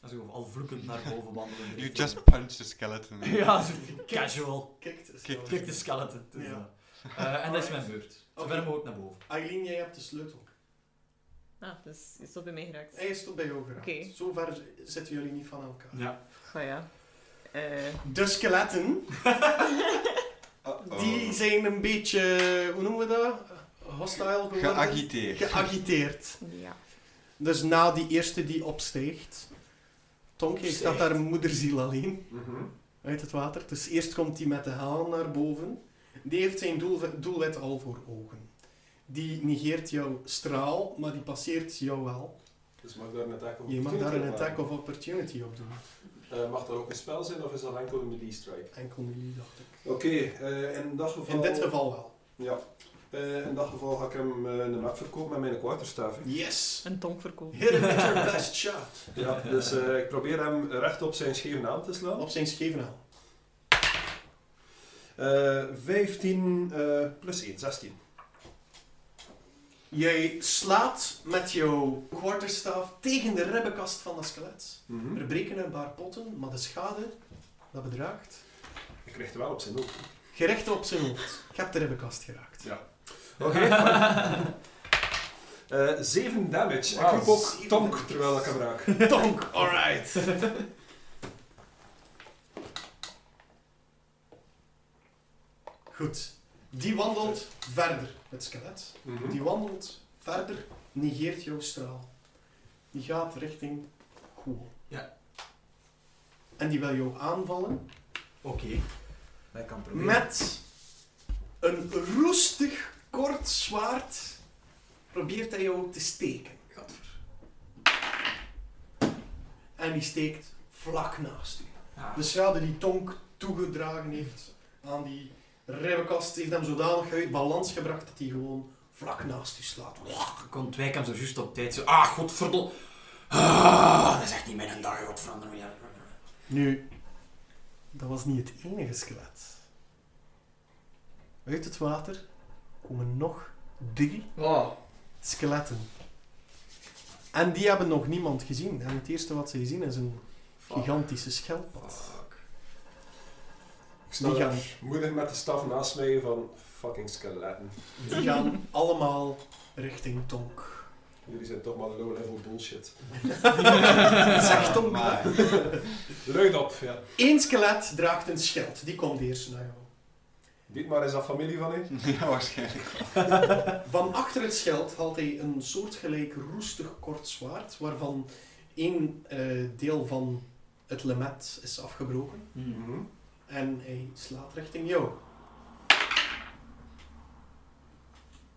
A: En zo al vloekend naar boven wandelen.
O: You just punch the skeleton.
A: Ja, zo casual.
D: Kikt is
O: Kikt.
D: wel-
A: Klik de skeleton. Dus,
D: Ja.
A: eh. Eh, en dat is mijn beurt. Zo
D: Oké.
A: ver mogelijk naar boven.
D: Aileen, jij hebt de sleutel.
E: Ah, dus is dat bij mij geraakt.
D: Hij is tot bij jou geraakt.
E: Oké.
D: Zo ver z- zitten jullie niet van elkaar.
A: Ja.
E: Oh ja. Eh,
D: De skeletten,
C: Oh.
O: Uh-oh.
D: die zijn een beetje, hoe noemen we dat? Hostile geworden.
O: Geagiteerd.
D: Geagiteerd.
E: ja.
D: Dus na die eerste die opstijgt, Tonke
A: Opstijgt.
D: staat daar moederziel alleen
B: Mhm.
D: uit het water. Dus eerst komt die met de haan naar boven. Die heeft zijn doelwe- doelwit al voor ogen. Die negeert jouw straal, maar die passeert jou wel.
B: Dus mag daar een attack of
D: Je mag daar een
B: opportunity
D: attack
B: op
D: of opportunity op doen.
B: maken? Eh, mag dat ook een spel zijn of is dat enkel een melee strike?
D: Enkel melee, dacht ik.
B: Oké, eh, in dat geval...
D: In dit geval wel.
B: Ja. Eh, in dat geval ga ik hem eh, een map verkopen met mijn quarterstaff. hè.
D: Yes!
E: Een tong verkopen.
D: Hit him with your best shot.
B: Ja, dus eh, ik probeer hem recht op zijn scheve naam te slaan.
D: Op zijn schevenaal.
B: Eh, 15 eh, plus 1, 16.
D: Jij slaat met jouw quarterstaaf tegen de ribbenkast van dat skelet.
B: Mhm.
D: Er breken een paar potten, maar de schade, dat bedraagt...
B: Ik krijg er wel op zijn hoofd.
D: Gerecht op zijn hoofd. Je hebt de ribbenkast geraakt.
B: Oké. fijn. Eh, 7 damage.
D: Wauw.
B: Ik roep ook
D: Zeven
B: tonk
D: damage.
B: terwijl ik hem raak.
D: Tonk, alright. Goed. Die wandelt verder, het skelet. Die wandelt verder, negeert jouw straal. Die gaat richting Koel.
A: Ja.
D: En die wil jou aanvallen
A: Oké. Dat kan proberen.
D: met een roestig kort zwaard. Probeert hij jou te steken.
A: Gadver.
D: En die steekt vlak naast u.
A: Ah.
D: De schade die Tonk toegedragen heeft aan die ribbenkast heeft hem zodanig uit balans gebracht dat hij gewoon vlak naast u slaat.
A: Ik kon het wijk hem zo juist op tijd. Zo, ah, godverdomme. Ah, dat is echt niet mijn dag, wat veranderen. Ja.
D: Nu, dat was niet het enige skelet. Uit het water komen nog drie skeletten. En die hebben nog niemand gezien. En het eerste wat ze zien is een gigantische schelpad.
A: Fuck.
B: Ik sta
D: Die gaan-
B: daar moedig met de staf naast mij van fucking skeletten.
D: Die gaan allemaal richting Tonk.
B: Jullie zijn toch maar low-level bullshit.
D: Zeg Tonk dat?
C: Maar,
B: Luid op, ja.
D: Eén skelet draagt een schild. Die komt eerst naar jou.
B: Dietmar, is dat familie van u?
C: ja, waarschijnlijk.
D: Van achter het schild haalt hij een soortgelijk roestig kort zwaard, waarvan één eh, deel van het lemet is afgebroken.
B: Mhm.
D: En hij slaat richting jou.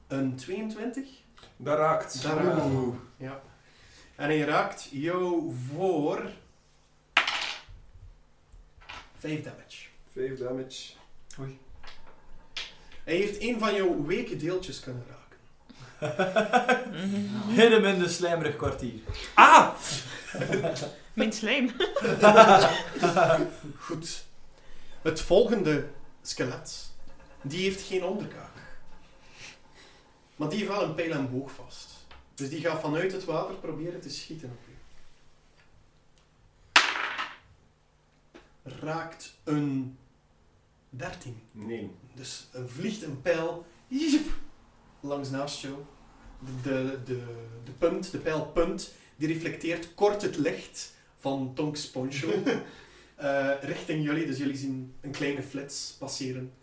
D: Een 22.
B: Dat raakt.
D: Daar raakt.
B: Oeh.
D: Ja. En hij raakt jou voor 5 damage.
B: 5 damage.
D: Hij heeft één van jouw weke deeltjes kunnen raken.
A: Hit hem in de slijmerig kwartier.
E: Mijn slijm.
D: Goed. Het volgende skelet, die heeft geen onderkaak. Maar die heeft wel een pijl en boog vast. Dus die gaat vanuit het water proberen te schieten op u. Raakt een 13.
B: Nee.
D: Dus een vliegt een pijl jiep, langs naast jou. De, de, de, de punt, de pijlpunt, die reflecteert kort het licht van Tonks poncho eh, richting jullie. Dus jullie zien een kleine flits passeren,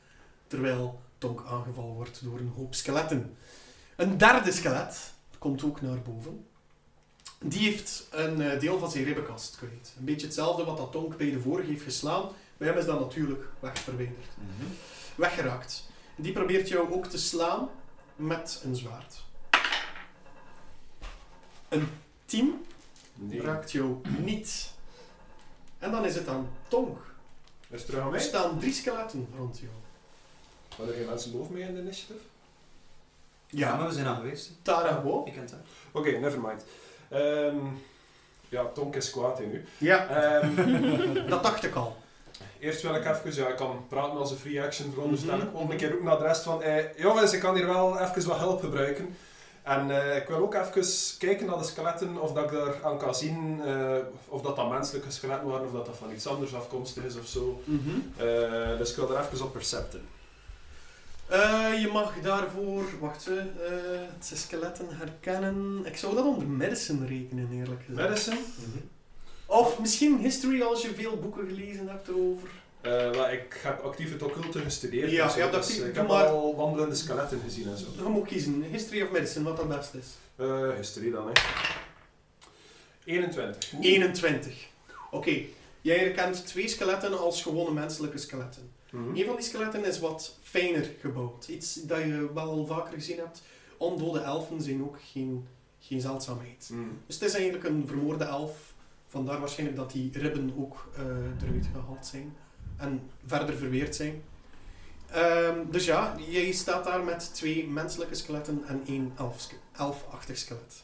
D: terwijl Tonk aangevallen wordt door een hoop skeletten. Een derde skelet komt ook naar boven. Die heeft een eh, deel van zijn ribbenkast kwijt. Een beetje hetzelfde wat dat Tonk bij de vorige heeft geslaan. Bij hem is dat natuurlijk wegverwijderd weggeraakt. Die probeert jou ook te slaan met een zwaard. Een 10
B: Nee.
D: raakt jou niet. En dan is het aan Tonk.
B: Is het terug aan
D: Er
B: mij?
D: staan drie skeletten rond jou.
B: Waren er geen mensen boven mij in de initiative?
A: Ja, maar we zijn aan geweest. hè.
D: Tara Wo.
A: Ik ken het. hè.
B: Oké, nevermind. Ehm, ja, Tonk is kwaad in nu.
D: Ja,
B: Ehm,
D: dat dacht ik al.
B: eerst wil ik even, ja, ik kan praten als een free action
D: Mhm.
B: veronderstel ik. Om een keer ook naar de rest van, eh, jongens, ik kan hier wel even wat hulp gebruiken. En eh, ik wil ook even kijken naar de skeletten, of dat ik daar aan kan zien eh, of dat dat menselijke skeletten waren, of dat dat van iets anders afkomstig is of zo.
D: Mhm.
B: Eh, dus ik wil daar even op percepten.
D: Eh, je mag daarvoor, wacht, eh, eh, het zijn skeletten herkennen. Ik zou dat onder medicine rekenen, eerlijk gezegd.
B: Medicine?
D: Of misschien history als je veel boeken gelezen hebt over.
B: Eh, wel, ik heb actief het occulte gestudeerd.
D: Ja,
B: en zo,
D: ja, dat
B: dus
D: zie ik,
B: ik heb
D: maar-
B: al wandelende skeletten gezien en zo.
D: Je moet kiezen, history of medicine, wat het beste is.
B: Eh history dan, hè. 21.
D: 21. Oké, jij herkent twee skeletten als gewone menselijke skeletten.
B: Mhm.
D: Een van die skeletten is wat fijner gebouwd. Iets dat je wel vaker gezien hebt. Ondode elfen zijn ook geen, geen zeldzaamheid.
B: Mhm.
D: Dus het is eigenlijk een vermoorde elf. Vandaar waarschijnlijk dat die ribben ook eh, eruit gehaald zijn. En verder verweerd zijn. Ehm, dus ja, jij staat daar met twee menselijke skeletten en één elfske- elfachtig skelet.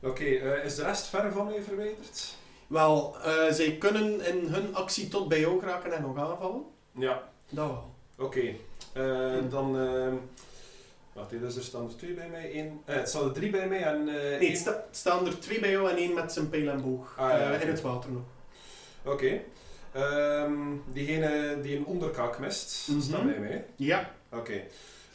B: Oké, eh, is de rest ver van mij verwijderd?
D: Wel, eh, zij kunnen in hun actie tot bij jou raken en nog aanvallen.
B: Ja,
D: Dat wel.
B: oké. Eh,
D: Hmm.
B: Dan... ehm wacht, hé, dus er staan er twee bij mij. Één, eh, het staan er drie bij mij en eh,
D: Nee,
B: één-
D: het sta- het staan er twee bij jou en één met zijn pijl en boog.
B: Ah, ja,
D: eh,
B: oké.
D: in het water nog.
B: Oké. Ehm, diegene die een onderkaak mist,
D: Mhm.
B: staat bij mij.
D: Ja.
B: Oké.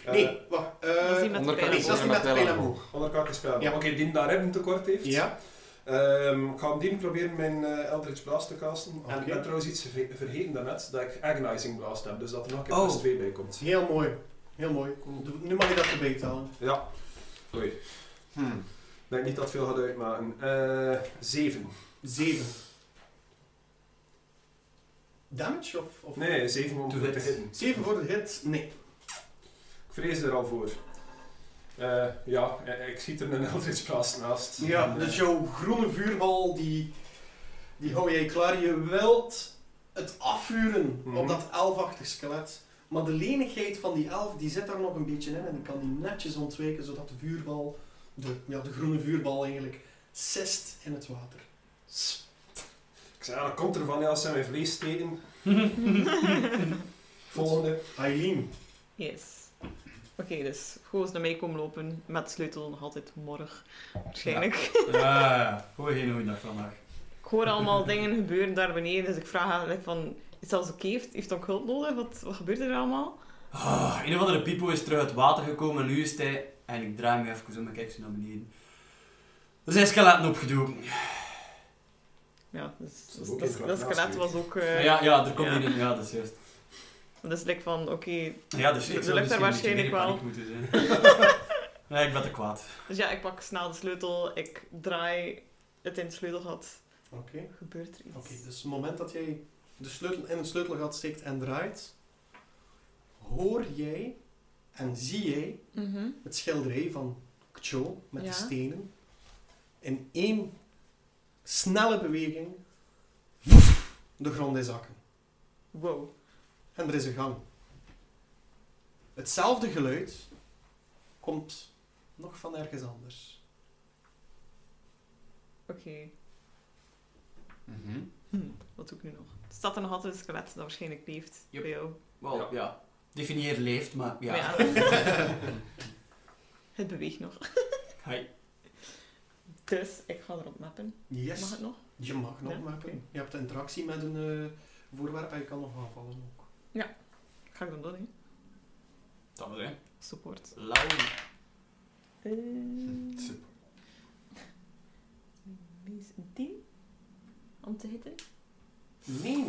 B: Eh,
D: Nee, wacht. eh,
E: Dat is die met de
I: onderkant
D: nee,
E: pijl.
I: is
D: dat is
I: die
D: niet met de pijl en boog.
B: Onderkaak is spel.
D: Ja.
B: Oké, die daar hebben tekort heeft.
D: Ja.
B: Ehm, ik ga die proberen mijn eh Eldritch Blast te casten. En ik
D: Oké.
B: ben trouwens iets verge- vergeten daarnet, dat ik Agonizing Blast heb, dus dat er nog een keer
A: Oh.
B: plus 2 bij komt.
D: Heel mooi. Heel mooi. Doe- Nu mag je dat erbij talen.
B: Ja. Oei. Ik
C: Hmm.
B: denk niet dat veel gaat uitmaken. Eh 7.
D: Zeven. Damage of? of?
B: Nee, 7 om
A: Doe
B: voor te
A: dit.
B: hitten.
D: Zeven voor de hit? Nee.
B: Ik vrees er al voor. Eh, ja, eh, ik schiet er een Eldritch Blast naast.
D: Ja,
B: En,
D: dus
B: eh,
D: jouw groene vuurbal, die, die hou jij klaar. Je wilt het afvuren
B: Mhm.
D: op dat elfachtig skelet. Maar de lenigheid van die elf, die zit daar nog een beetje in. En dan kan die netjes ontwijken, zodat de vuurbal, de, ja, de groene vuurbal eigenlijk, sist in het water.
B: Ik zei, ja, dat komt ervan ja, als ze mijn vlees steken. Volgende.
D: Aileen.
E: Yes. Oké, dus gewoon naar mij komen lopen met de sleutel nog altijd morgen. Waarschijnlijk.
A: Ja, gooi geen goeiedag vandaag.
E: Ik hoor allemaal dingen gebeuren daar beneden, dus ik vraag eigenlijk van... Is dat oké? Heeft, heeft ook hulp nodig? Wat, wat gebeurt er allemaal?
A: Ah, een of andere Pipo is terug uit het water gekomen en nu is hij... En ik draai me even om en kijk ze naar beneden. Er zijn skeletten opgedoken.
E: Ja, dus,
B: Dat
E: dus,
B: is ook
E: dat,
B: even
E: dat
B: wat
E: skelet
B: naast
E: was ook... eh,
A: ja, ja, er komt
E: ja.
A: één in. Ja, dat is juist.
E: Dat is like van, oké...
A: Ja, dus ik
E: Er
A: zou
E: ligt daar
A: misschien een beetje meer
E: waarschijnlijk
A: in
E: wel.
A: paniek moeten zijn. nee, ik ben te kwaad.
E: Dus ja, ik pak snel de sleutel, ik draai het in het sleutelgat.
D: Oké.
E: Gebeurt er iets?
D: Oké, dus het moment dat jij de sleutel in het sleutelgat steekt en draait, hoor jij en zie jij
E: Mhm.
D: het schilderij van Kcho met
E: Ja.
D: de stenen in één snelle beweging de grond in zakken.
E: Wow.
D: En er is een gang. Hetzelfde geluid komt nog van ergens anders.
E: Oké.
C: Mhm.
E: Hm, wat doe ik nu nog? Er staat er nog altijd een skelet dat waarschijnlijk leeft
A: Yep.
E: bij jou.
A: Wel,
B: Ja.
A: ja. Definieer leeft, maar ja.
E: Maar het beweegt nog.
A: Hai.
E: Dus ik ga erop mappen.
D: Yes,
E: Mag het nog?
D: je mag nog
E: Ja,
D: maken.
E: oké.
D: Je hebt interactie met een eh, voorwerp en je kan nog aanvallen ook.
E: Ga ik dan doen, hè?
A: Dat moet zijn.
E: Support.
A: Lauw.
E: Eh,
C: Super.
E: Wees een 10 om te hitten.
D: Nee!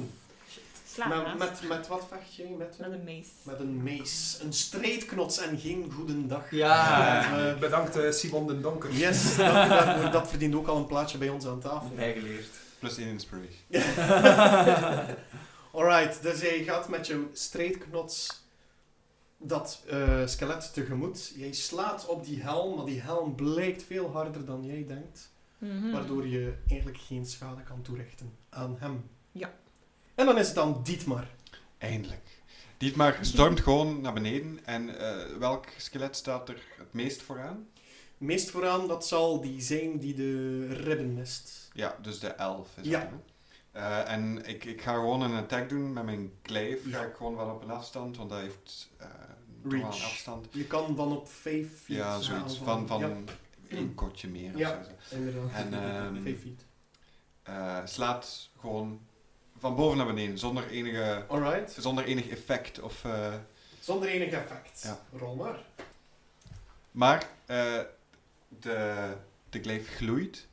E: Slaan
D: Maar
E: naast.
D: met, met wat vecht jij? Met
E: Met
D: een,
E: een mees.
D: met een mees. Een strijdknots en geen goedendag.
A: Ja.
D: Eh,
B: Bedankt eh, Simon den Donker.
D: yes, dat, daarvoor- dat verdient ook al een plaatje bij ons aan tafel.
A: Bijgeleerd.
C: Plus één inspiration.
D: Alright, dus jij gaat met je strijdknots dat eh, skelet tegemoet. Jij slaat op die helm, maar die helm blijkt veel harder dan jij denkt.
E: Mhm.
D: Waardoor je eigenlijk geen schade kan toerichten aan hem.
E: Ja.
D: En dan is het dan Dietmar.
C: Eindelijk. Dietmar stormt gewoon naar beneden. En eh, welk skelet staat er het meest vooraan?
D: Meest vooraan, dat zal die zijn die de ribben mist.
C: Ja, dus de elf is
D: Ja.
C: dat, hè? Eh, en ik, ik ga gewoon een attack doen met mijn glaive.
D: Ja.
C: Ga ik gewoon wel op een afstand, want dat heeft eh toch wel een
D: Reach.
C: afstand.
D: Je kan van op 5 feet
C: Ja, zoiets van,
D: aanvallen.
C: van
D: Ja,
C: één kotje meer
D: Ja.
C: of zo.
D: inderdaad.
C: En, ehm,
D: 5 feet.
C: Eh, slaat gewoon van boven naar beneden, zonder, enige,
D: Alright.
C: zonder enig effect. Of, eh,
D: Zonder enig effect.
C: Ja.
D: Rol maar.
C: maar eh, de, de glaive gloeit,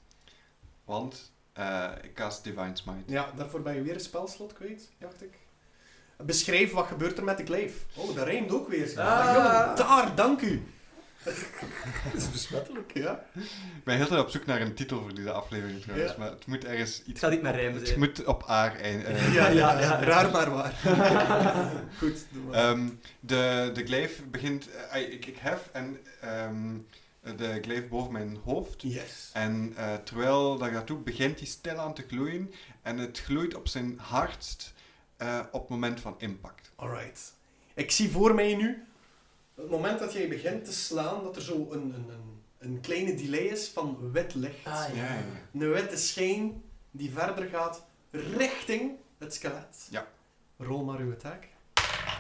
C: want eh, ik cast Divine Smite.
D: Ja, daarvoor ben je weer een spelslot kwijt, dacht ik. Beschrijf wat gebeurt er met de glaive. Oh, dat rijmt ook weer.
B: Ah.
D: Daar, dank u. Dat is besmettelijk. Ja.
C: Ik ben heel tijd op zoek naar een titel voor deze aflevering trouwens,
D: Ja.
C: maar het moet ergens iets...
J: Het gaat niet met rijmen
C: Het
J: zijn.
C: moet op aar eindigen. eh.
D: Ja, ja,
J: ja.
D: Raar maar waar. Goed. doe maar.
C: Ehm, de, de glaive begint... eh, ai, ik, ik hef en ehm, de glaive boven mijn hoofd.
D: yes.
C: En eh, terwijl dat ik dat doe, begint die stilaan te gloeien. En het gloeit op zijn hardst eh, op het moment van impact.
D: Alright. Ik zie voor mij nu, het moment dat jij begint te slaan, dat er zo een, een, een, een kleine delay is van wit licht.
A: Ah, ja.
D: Een witte schijn die verder gaat richting het skelet.
C: Ja.
D: Rol maar uw attack.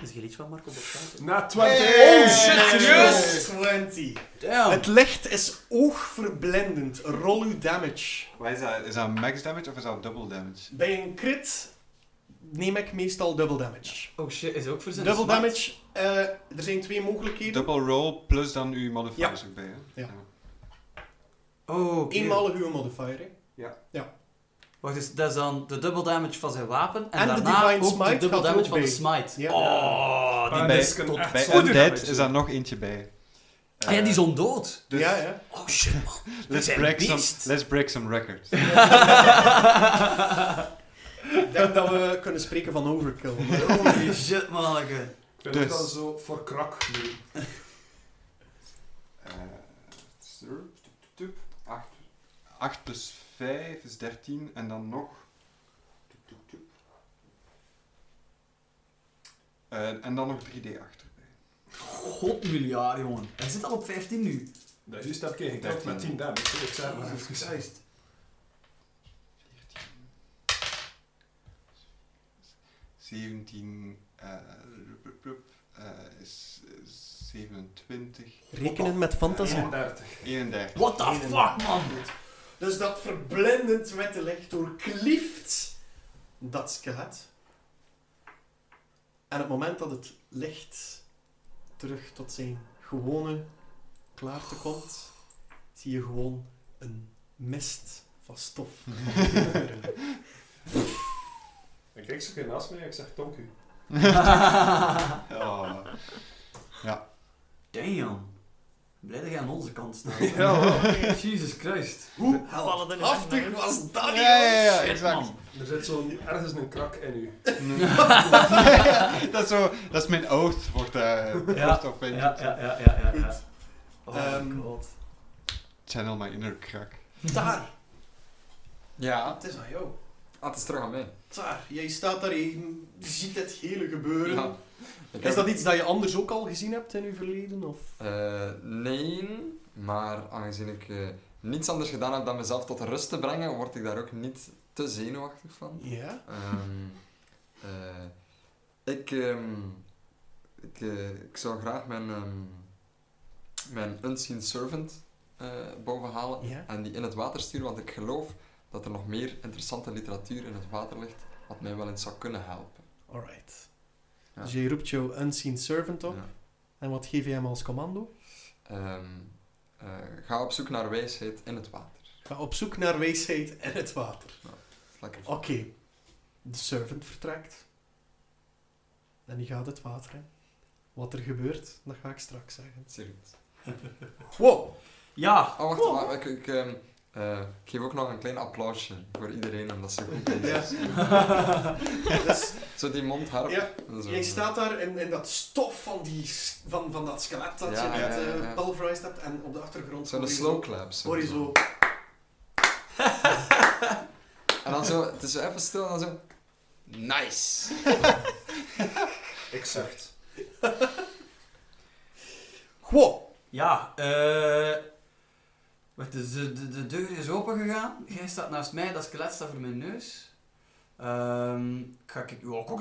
J: Is er iets van Marco Borsato?
B: Na 20.
J: Hey! Oh, shit, serieus? Oh.
D: 20.
J: Damn!
D: Het licht is oogverblindend. Rol uw damage.
C: Wat is dat? Is dat max damage of is dat double damage?
D: Bij een crit neem ik meestal double damage.
A: Oh shit, is ook voor zijn
D: Double
A: smaak?
D: damage, eh, er zijn twee mogelijkheden.
C: Double roll plus dan uw modifiers erbij. Hè?
D: Ja.
A: Oh, oké.
D: Eenmalig uw modifier. hè.
A: Wacht eens, dat is dan de double damage van zijn wapen. En,
D: En de
A: daarna
D: divine
A: ook de
D: smite
A: double
D: gaat er
A: damage
D: ook
A: van de
D: bij.
A: smite.
D: Ja.
A: Oh, die
B: Ah,
C: bij-
B: dat is een echt
C: Bij
B: zwaar
C: Undead
B: damage.
C: is daar nog eentje bij.
A: Ah ja, die is
C: Eh,
A: ondood.
C: dus-
D: ja, ja.
A: Oh shit, man.
C: Let's
A: zijn
C: break,
A: beest.
C: some, let's break some records.
D: Ik denk dat we kunnen spreken van overkill. maar-
A: Holy shit, manneke.
B: Ik vind het
C: Dus.
B: wel zo voor krak nu.
C: Eh, tup, tup, tup, acht. 8 plus 5 is 13 en dan nog. tup, tup, tup. Eh, en dan nog 3D8 erbij.
A: God miljard, jongen. Hij zit al op 15 nu.
B: Dat is juist dat keer geknipt met 10 damage. Ik
A: Ah,
B: zeg maar.
A: Christ.
C: 17 eh, rup, rup, rup, eh, is is 27,
D: Rekenen met fantasie.
B: 31.
C: 31.
A: What the fuck, man.
D: Dus dat verblindend witte licht doorklieft dat skelet. En het moment dat het licht terug tot zijn gewone klaarte komt, zie je gewoon een mist van stof.
B: Ik kijk zo keer naast mij en ik zeg Tonk u.
C: Oh.
A: Damn. Blij dat jij aan onze kant staat. Jesus Christ.
D: Hoe
E: Vallen er
D: haftig
E: nog
D: was dat,
C: Ja,
D: jongens?
C: ja, ja, ja,
A: Shit,
C: exact.
A: man.
B: Er zit zo'n ergens een krak in u.
C: dat, is zo, dat is mijn oath, wordt, eh wordt op mijn
A: Ja, ja, ja, ja, ja. ja. Oh
D: Ehm,
A: god.
C: channel, mijn inner krak.
D: Daar,
I: Ja.
D: het is aan jou.
I: Ah, het is terug aan mij.
D: Daar, jij staat daar, je ziet het hele gebeuren.
I: Ja. Ik
D: Is
I: heb-
D: dat iets dat je anders ook al gezien hebt in uw verleden? Of?
I: Eh, nee, maar aangezien ik eh, niets anders gedaan heb dan mezelf tot rust te brengen, word ik daar ook niet te zenuwachtig van.
D: Ja.
I: Ehm, eh, ik, ehm, ik, eh, ik zou graag mijn, ehm, mijn Unseen Servant eh, bovenhalen
D: Ja.
I: en die in het water sturen, want ik geloof dat er nog meer interessante literatuur in het water ligt, wat mij wel eens zou kunnen helpen.
D: Alright.
I: Ja.
D: Dus je roept jouw Unseen Servant op.
I: Ja.
D: En wat geef je hem als commando?
I: Ehm, eh, ga op zoek naar wijsheid in het water.
D: Ga op zoek naar wijsheid en het water.
I: Lekker.
D: Oké. De servant vertrekt. En die gaat het water in. Wat er gebeurt, dat ga ik straks zeggen.
I: Zeer goed.
D: Wow.
A: Ja.
I: Oh, wacht, maar ik, ik, ehm, eh, ik geef ook nog een klein applausje voor iedereen, omdat ze goed bezig is.
D: Dus
I: Zo die mondharp.
D: Ja,
I: en zo.
D: jij staat daar in, in dat stof van, die, s- van, van dat skelet dat
I: Ja,
D: je
I: ja,
D: net eh
I: ja, ja.
D: pulverized hebt. En op de achtergrond
I: Zo'n
D: hoor je
I: slow clap. zo.
D: hoor je zo...
I: En dan zo, het is zo even stil en dan zo... Nice!
B: Ik zeg het.
D: Wow.
A: Ja, eh. Wacht, dus de, de, de deur is opengegaan. Jij staat naast mij, dat skelet staat voor mijn neus. Ehm, ik ga ik. Ja, ik,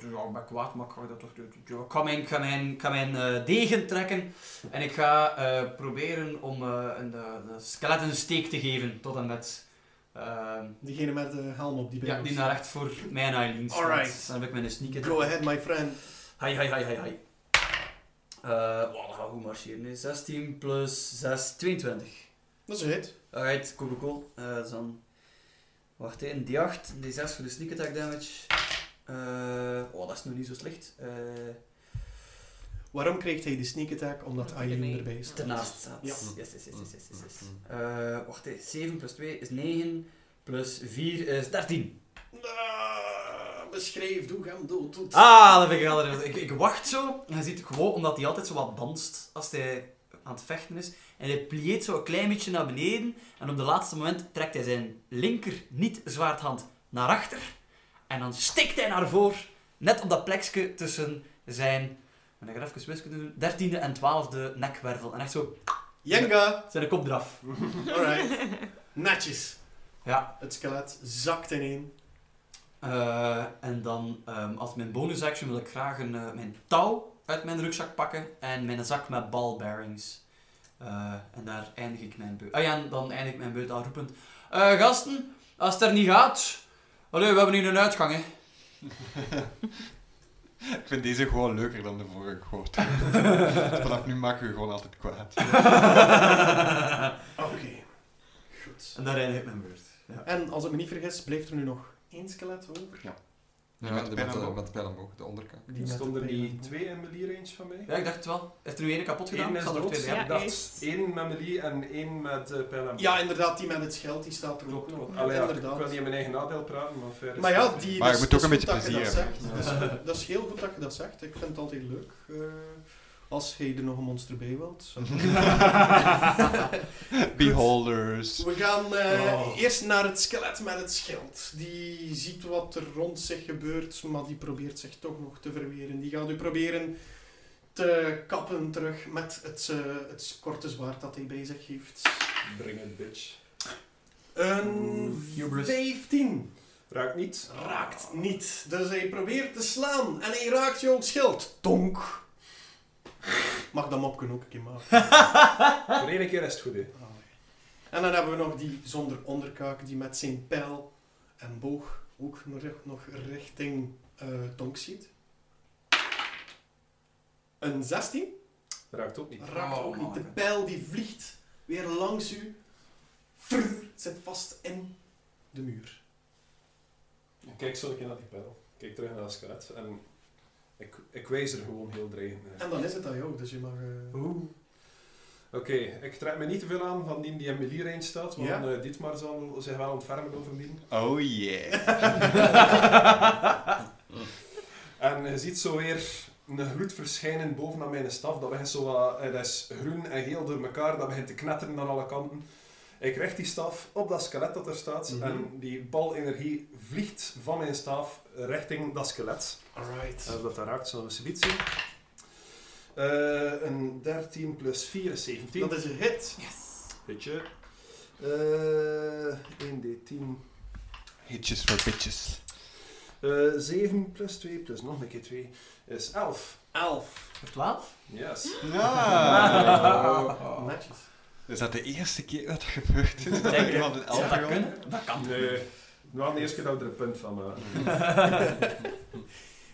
A: ja, ik ben kwaad, maar ik ga dat toch doen. Ja, Ik ga mijn, ik ga mijn, ik ga mijn eh, degen trekken en ik ga eh, proberen om eh, een, de, de skelet een steek te geven tot en met. ehm,
D: Diegene met de helm op, die bij
A: ja,
D: ons
A: die
D: staat.
A: naar recht voor mijn Eileen staat.
D: Alright.
A: Dan heb ik mijn sneak
D: Go ahead, my friend.
A: Hai, hai, hai, hai, hai. Eh, wow, dat gaat goed marcheren. hè. 16 plus 6, 22.
D: Dat is een hit.
A: Alright, cool, cool, cool. Eh, dus dan... Wacht, hè, een D8, een D6 voor de sneak attack damage. Eh, oh, dat is nog niet zo slecht. Eh,
D: Waarom kreeg hij die sneak attack? Omdat
E: Omdat hij
D: Aileen
E: mee-
D: erbij is.
P: Ernaast staat.
D: Ja.
P: Yes, yes, yes, yes, yes, yes, yes. Eh, wacht, hè. 7 plus 2 is 9, plus 4 is 13.
Q: Ah, beschreef, doe hem dood. dood.
A: Ah, dat vind ik altijd. Ik, ik wacht zo. En je ziet gewoon omdat hij altijd zo wat danst als hij aan het vechten is. En hij plieert zo een klein beetje naar beneden. En op de laatste moment trekt hij zijn linker niet-zwaardhand naar achter. En dan stikt hij naar voren. Net op dat plekje tussen zijn. En dan ga ik even wiskunde doen. Dertiende en twaalfde nekwervel. En echt zo
D: Jenga!
A: zijn kop eraf.
D: Alright. Netjes.
A: Ja.
D: Het skelet zakt ineen.
A: Eh, en dan ehm, als mijn bonus action wil ik graag een, eh, mijn touw uit mijn rugzak pakken en mijn zak met ball bearings. Eh, en daar eindig ik mijn beurt. Ah ja, en dan eindig ik mijn beurt al roepend. Eh, gasten, als het er niet gaat. Allee, we hebben hier een uitgang, hè.
C: Ik vind deze gewoon leuker dan de vorige gehoord. Vanaf nu maken we gewoon altijd kwaad.
D: Oké. Goed.
A: en daar eindig ik mijn beurt.
D: En als ik me niet vergis, blijft er nu nog één skelet over.
C: Die
R: Ja,
C: met
R: die
C: pijl
R: met,
C: en
R: eh,
C: boog.
R: met de pijl en boog, de onderkant.
D: Die met
B: Stonden
D: de
B: die
D: pijlen.
B: twee in melee range van mij?
A: Ja, ik dacht het wel. Heeft er nu één kapot gedaan?
B: Eén is
A: Zal er
B: dood.
A: twee bij
E: Ja,
B: Ik
A: hebben?
B: dacht
E: eerst.
B: één met melee en één met eh pijl en boog.
D: Ja, inderdaad, die met het schild, die staat er ook
B: Klopt,
D: nog.
B: klopt.
D: Ja,
B: Allee, ja, ik
D: inderdaad.
B: wil niet in mijn eigen nadeel praten, maar verder...
D: Maar ja, die,
C: Maar je
D: dat
C: moet
D: is-
C: ook
D: dat is
C: een
D: goed
C: beetje
D: dat je dat
C: plezier
D: zegt. Dat is- Dat is heel goed dat je dat zegt. Ik vind het altijd leuk eh, als je er nog een monster bij wilt. Zo.
C: Beholders.
D: We gaan eh,
B: Oh.
D: eerst naar het skelet met het schild. Die ziet wat er rond zich gebeurt, maar die probeert zich toch nog te verweren. Die gaat u proberen te kappen terug met het, eh, het korte zwaard dat hij bij zich heeft.
B: Bring it, bitch.
D: Een
B: Oeh, hubris.
D: 15.
B: Raakt niet.
D: Raakt niet. Dus hij probeert te slaan en hij raakt jouw schild. Tonk. Mag dat mopken ook een keer maken. Ah,
B: Voor één keer is het goed, hè.
D: En dan hebben we nog die zonder onderkaak, die met zijn pijl en boog ook nog, nog richting eh Tonk ziet. Een 16
B: Raakt ook niet.
D: raakt
A: Oh,
D: ook niet. De
A: man.
D: pijl die vliegt weer langs u. Frrr, zit vast in de muur.
B: Ik Kijk zo een keer naar die pijl. Ik Kijk terug naar het skelet. En ik, ik wijs er gewoon heel dreigend naar.
D: En dan is het aan jou, dus je mag... eh,
B: Oké, ik trek me niet te veel aan van die die in melee range staat, want
D: Ja.
B: eh, Dietmar zal zich wel aan het vermen bovendien.
C: Oh yeah.
B: En je ziet zo weer een gloed verschijnen bovenaan mijn staf. Dat, begint zo wat, eh, dat is groen en geel door elkaar. Dat begint te knetteren aan alle kanten. Ik richt die staf op dat skelet dat er staat.
D: Mhm.
B: En die bal energie vliegt van mijn staf richting dat skelet.
D: Alright.
B: Eh, Of dat dat raakt, zullen we zoiets zien. Eh, een 13 plus 4 is 17.
D: Dat is een hit.
B: Weet je. Eh, 1d10.
C: Hitjes for bitches.
B: Eh, 7 plus 2 plus nog een keer 2 is 11.
D: 11.
A: Voor 12?
B: Yes.
C: Ja.
D: Netjes.
C: Is dat de eerste keer dat dat gebeurd is? Dat
A: Denk je?
C: iemand een
A: Zou
C: elf
A: dat
C: wil?
A: kunnen? Dat kan.
B: Nee, het was de eerste keer dat we er een punt van maken.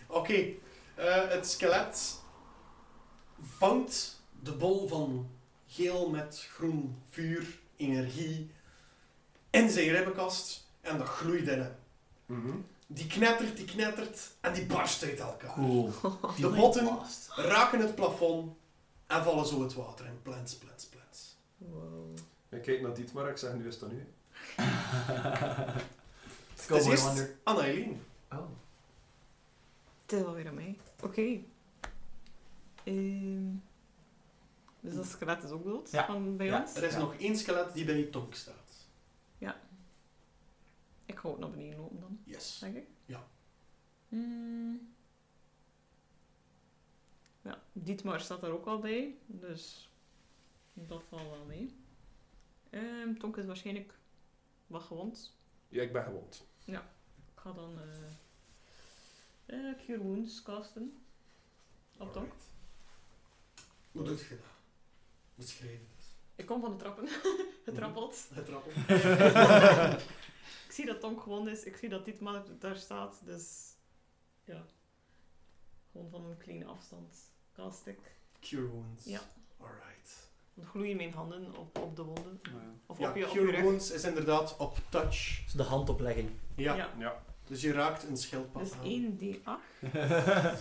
D: Oké, eh, het skelet vangt de bol van geel met groen vuur, energie, in zijn ribbenkast en dat gloeit in hem.
B: Mhm.
D: Die knettert, die knettert en die barst uit elkaar.
A: Cool.
D: De botten raken het plafond en vallen zo het water in. Plants, plants, plants.
B: Ik kijk naar Dietmar, ik zeg nu is dat nu.
D: Het is eerst aan Eileen.
A: Oh.
E: Het is alweer aan mij. Oké. Ehm, dus dat skelet is ook dood
A: Ja.
E: van bij
A: Ja.
E: ons.
D: Er is
A: Ja.
D: nog één skelet die bij Tonk staat.
E: Ik ga ook naar beneden lopen dan,
D: Yes.
E: denk ik.
D: Ja.
E: Hmm. Ja, Dietmar staat daar ook al bij, dus dat valt wel mee. Ehm, Tonk is waarschijnlijk wat gewond.
B: Ja, ik ben gewond.
E: Ik ga dan eh eh Cure Wounds casten. Op Tonk.
D: Alright. Hoe doet je dat? Beschrijf het.
E: Ik kom van de trappen, getrappeld.
D: Het rappelt.
E: Ik zie dat Tonk gewond is, ik zie dat dit man daar staat, dus ja. Gewoon van een kleine afstand cast ik.
D: Cure wounds.
E: Ja.
D: Alright.
E: Dan gloeien mijn handen op, op de wonden. Of
D: Ja,
E: op, je, op je
D: cure
E: rug.
D: wounds is inderdaad op touch.
A: de handoplegging.
D: Ja.
E: Ja.
B: Ja.
D: Dus je raakt een schildpad
E: Dus
D: aan.
E: 1d8. Dat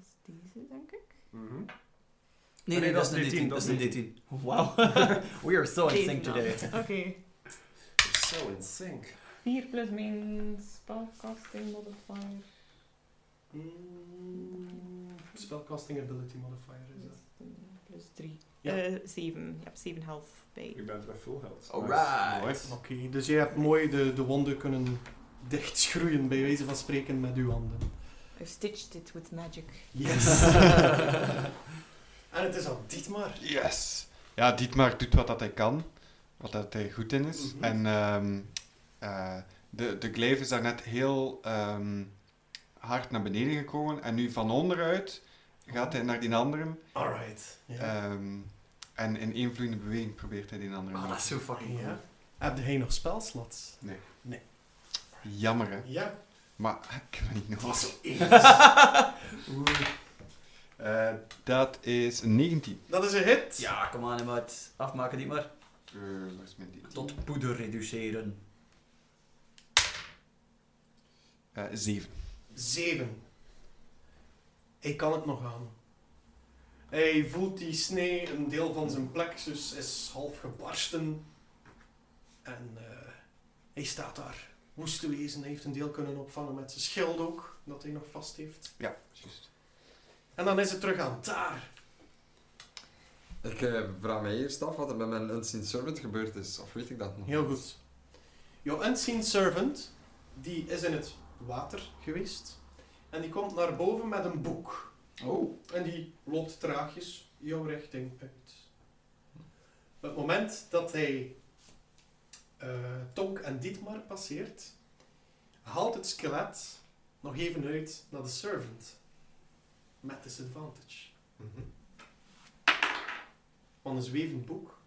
E: is deze, denk ik.
B: Mhm.
A: Nee, nee, dat is een D10. Dat is een D10. Wow. We are so in sync today.
E: Oké.
B: So in sync.
E: 4 plus mijn spellcasting modifier.
D: Mm, spellcasting ability modifier is dat.
E: Plus 3.
D: Ja.
E: Eh 7. Je hebt 7 health bij.
B: Ik ben terug full health.
A: Alright.
C: Nice. Mooi.
D: Oké, dus jij hebt mooi de, de wonden kunnen dichtschroeien, bij wijze van spreken, met uw handen.
E: I've stitched it with magic.
D: Yes! en het is aan Dietmar.
C: Yes! Ja, Dietmar doet wat dat hij kan, wat dat hij goed in is.
D: Mhm.
C: En ehm, eh, de, de gleif is daarnet heel ehm, hard naar beneden gekomen. En nu van onderuit gaat hij naar die andere.
D: Alright. Ja.
C: ehm, en in één vloeiende beweging probeert hij die andere.
A: Oh,
C: aan.
A: dat is zo fucking cool.
D: ja. Heb jij nog spelslots?
C: Jammer hè,
D: Ja.
C: maar ik heb het niet nodig.
D: Yes.
C: Eh, dat is een 19.
D: dat is een hit.
A: Ja, kom aan, maat. Afmaken die maar.
C: Eh, waar is mijn 19?
A: Tot poeder reduceren.
C: Eh, 7.
D: Zeven. Hij kan het nog aan. Hij voelt die snee, een deel van zijn plexus is half gebarsten. En eh, hij staat daar woest te wezen. Hij heeft een deel kunnen opvangen met zijn schild ook, dat hij nog vast heeft.
C: Ja, juist.
D: En dan is het terug aan daar.
I: Ik eh, vraag me eerst af wat er met mijn Unseen Servant gebeurd is. Of weet ik dat nog?
D: Heel
I: niet?
D: goed. Jouw unseen servant, die is in het water geweest. En die komt naar boven met een boek.
C: Oh.
D: En die loopt traagjes jouw richting uit. Op het moment dat hij eh, Tonk en Dietmar passeert, haalt het skelet nog even uit naar de servant. Met disadvantage. Van een zwevend boek.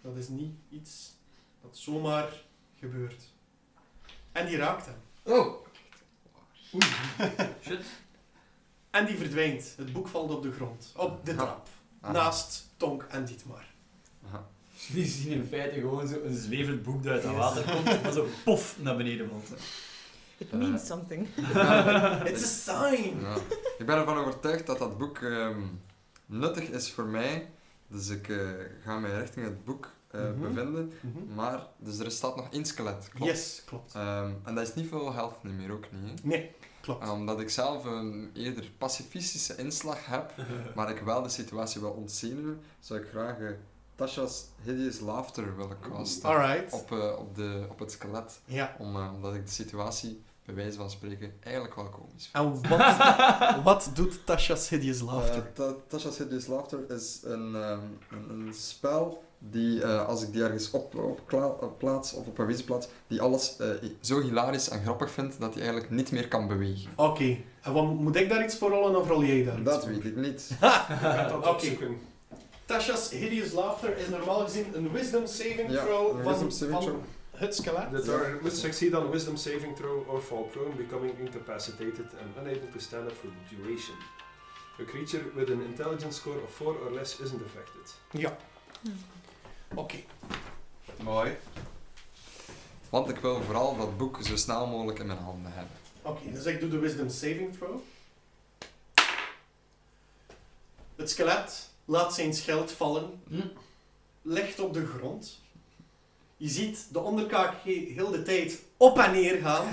D: Dat is niet iets dat zomaar gebeurt. En die raakt hem.
I: Oh!
D: En die verdwijnt. Het boek valt op de grond. Op de
I: Aha.
D: trap.
I: Ah.
D: Naast Tonk en Dietmar.
A: Die zien in feite gewoon zo'n zwevend boek dat uit het water komt, maar zo pof naar beneden valt.
E: It
I: Eh.
E: means something.
D: It's a sign!
I: Ja. Ik ben ervan overtuigd dat dat boek ehm, nuttig is voor mij. Dus ik eh, ga mij richting het boek eh,
D: Mhm.
I: bevinden. Maar, dus er staat nog één skelet, klopt?
D: Yes, klopt.
I: Ehm, en dat is niet veel health niet meer, ook niet. hè?
D: Nee, klopt.
I: Eh, Omdat ik zelf een eerder pacifistische inslag heb, maar ik wel de situatie wil ontzenuwen, zou ik graag eh, Tasha's Hideous Laughter willen casten
D: Alright.
I: op, eh, op, de, op het skelet.
D: Ja.
I: Om, eh, omdat ik de situatie, bij wijze van spreken, eigenlijk wel komisch vind.
D: En wat, wat doet Tasha's Hideous Laughter?
I: Eh, Ta- Tasha's Hideous Laughter is een, ehm, een, een spel die, eh, als ik die ergens op, op kla- op plaats of op een wezen plaats, die alles eh, zo hilarisch en grappig vindt dat hij eigenlijk niet meer kan bewegen.
D: Oké, en wat, moet ik daar iets voor rollen of rol jij daar iets
I: Eh. Dat
D: voor?
I: weet ik niet.
B: Ik ga dat
D: Oké.
B: opzoeken.
D: Tasha's Hideous Laughter is normaal gezien een wisdom saving
I: Ja,
D: throw
I: een
D: van,
I: wisdom saving
D: van
I: throw.
D: het skelet.
B: The target must succeed on wisdom saving throw or fall prone, becoming incapacitated and unable to stand up for the duration. A creature with an intelligence score of 4 or less isn't affected.
D: Oké,
C: Mooi.
I: Want ik wil vooral dat boek zo snel mogelijk in mijn handen hebben.
D: oké, dus ik doe de wisdom saving throw. Het skelet laat zijn schild vallen,
A: Hm.
D: ligt op de grond. Je ziet de onderkaak he- heel de tijd op en neer gaan.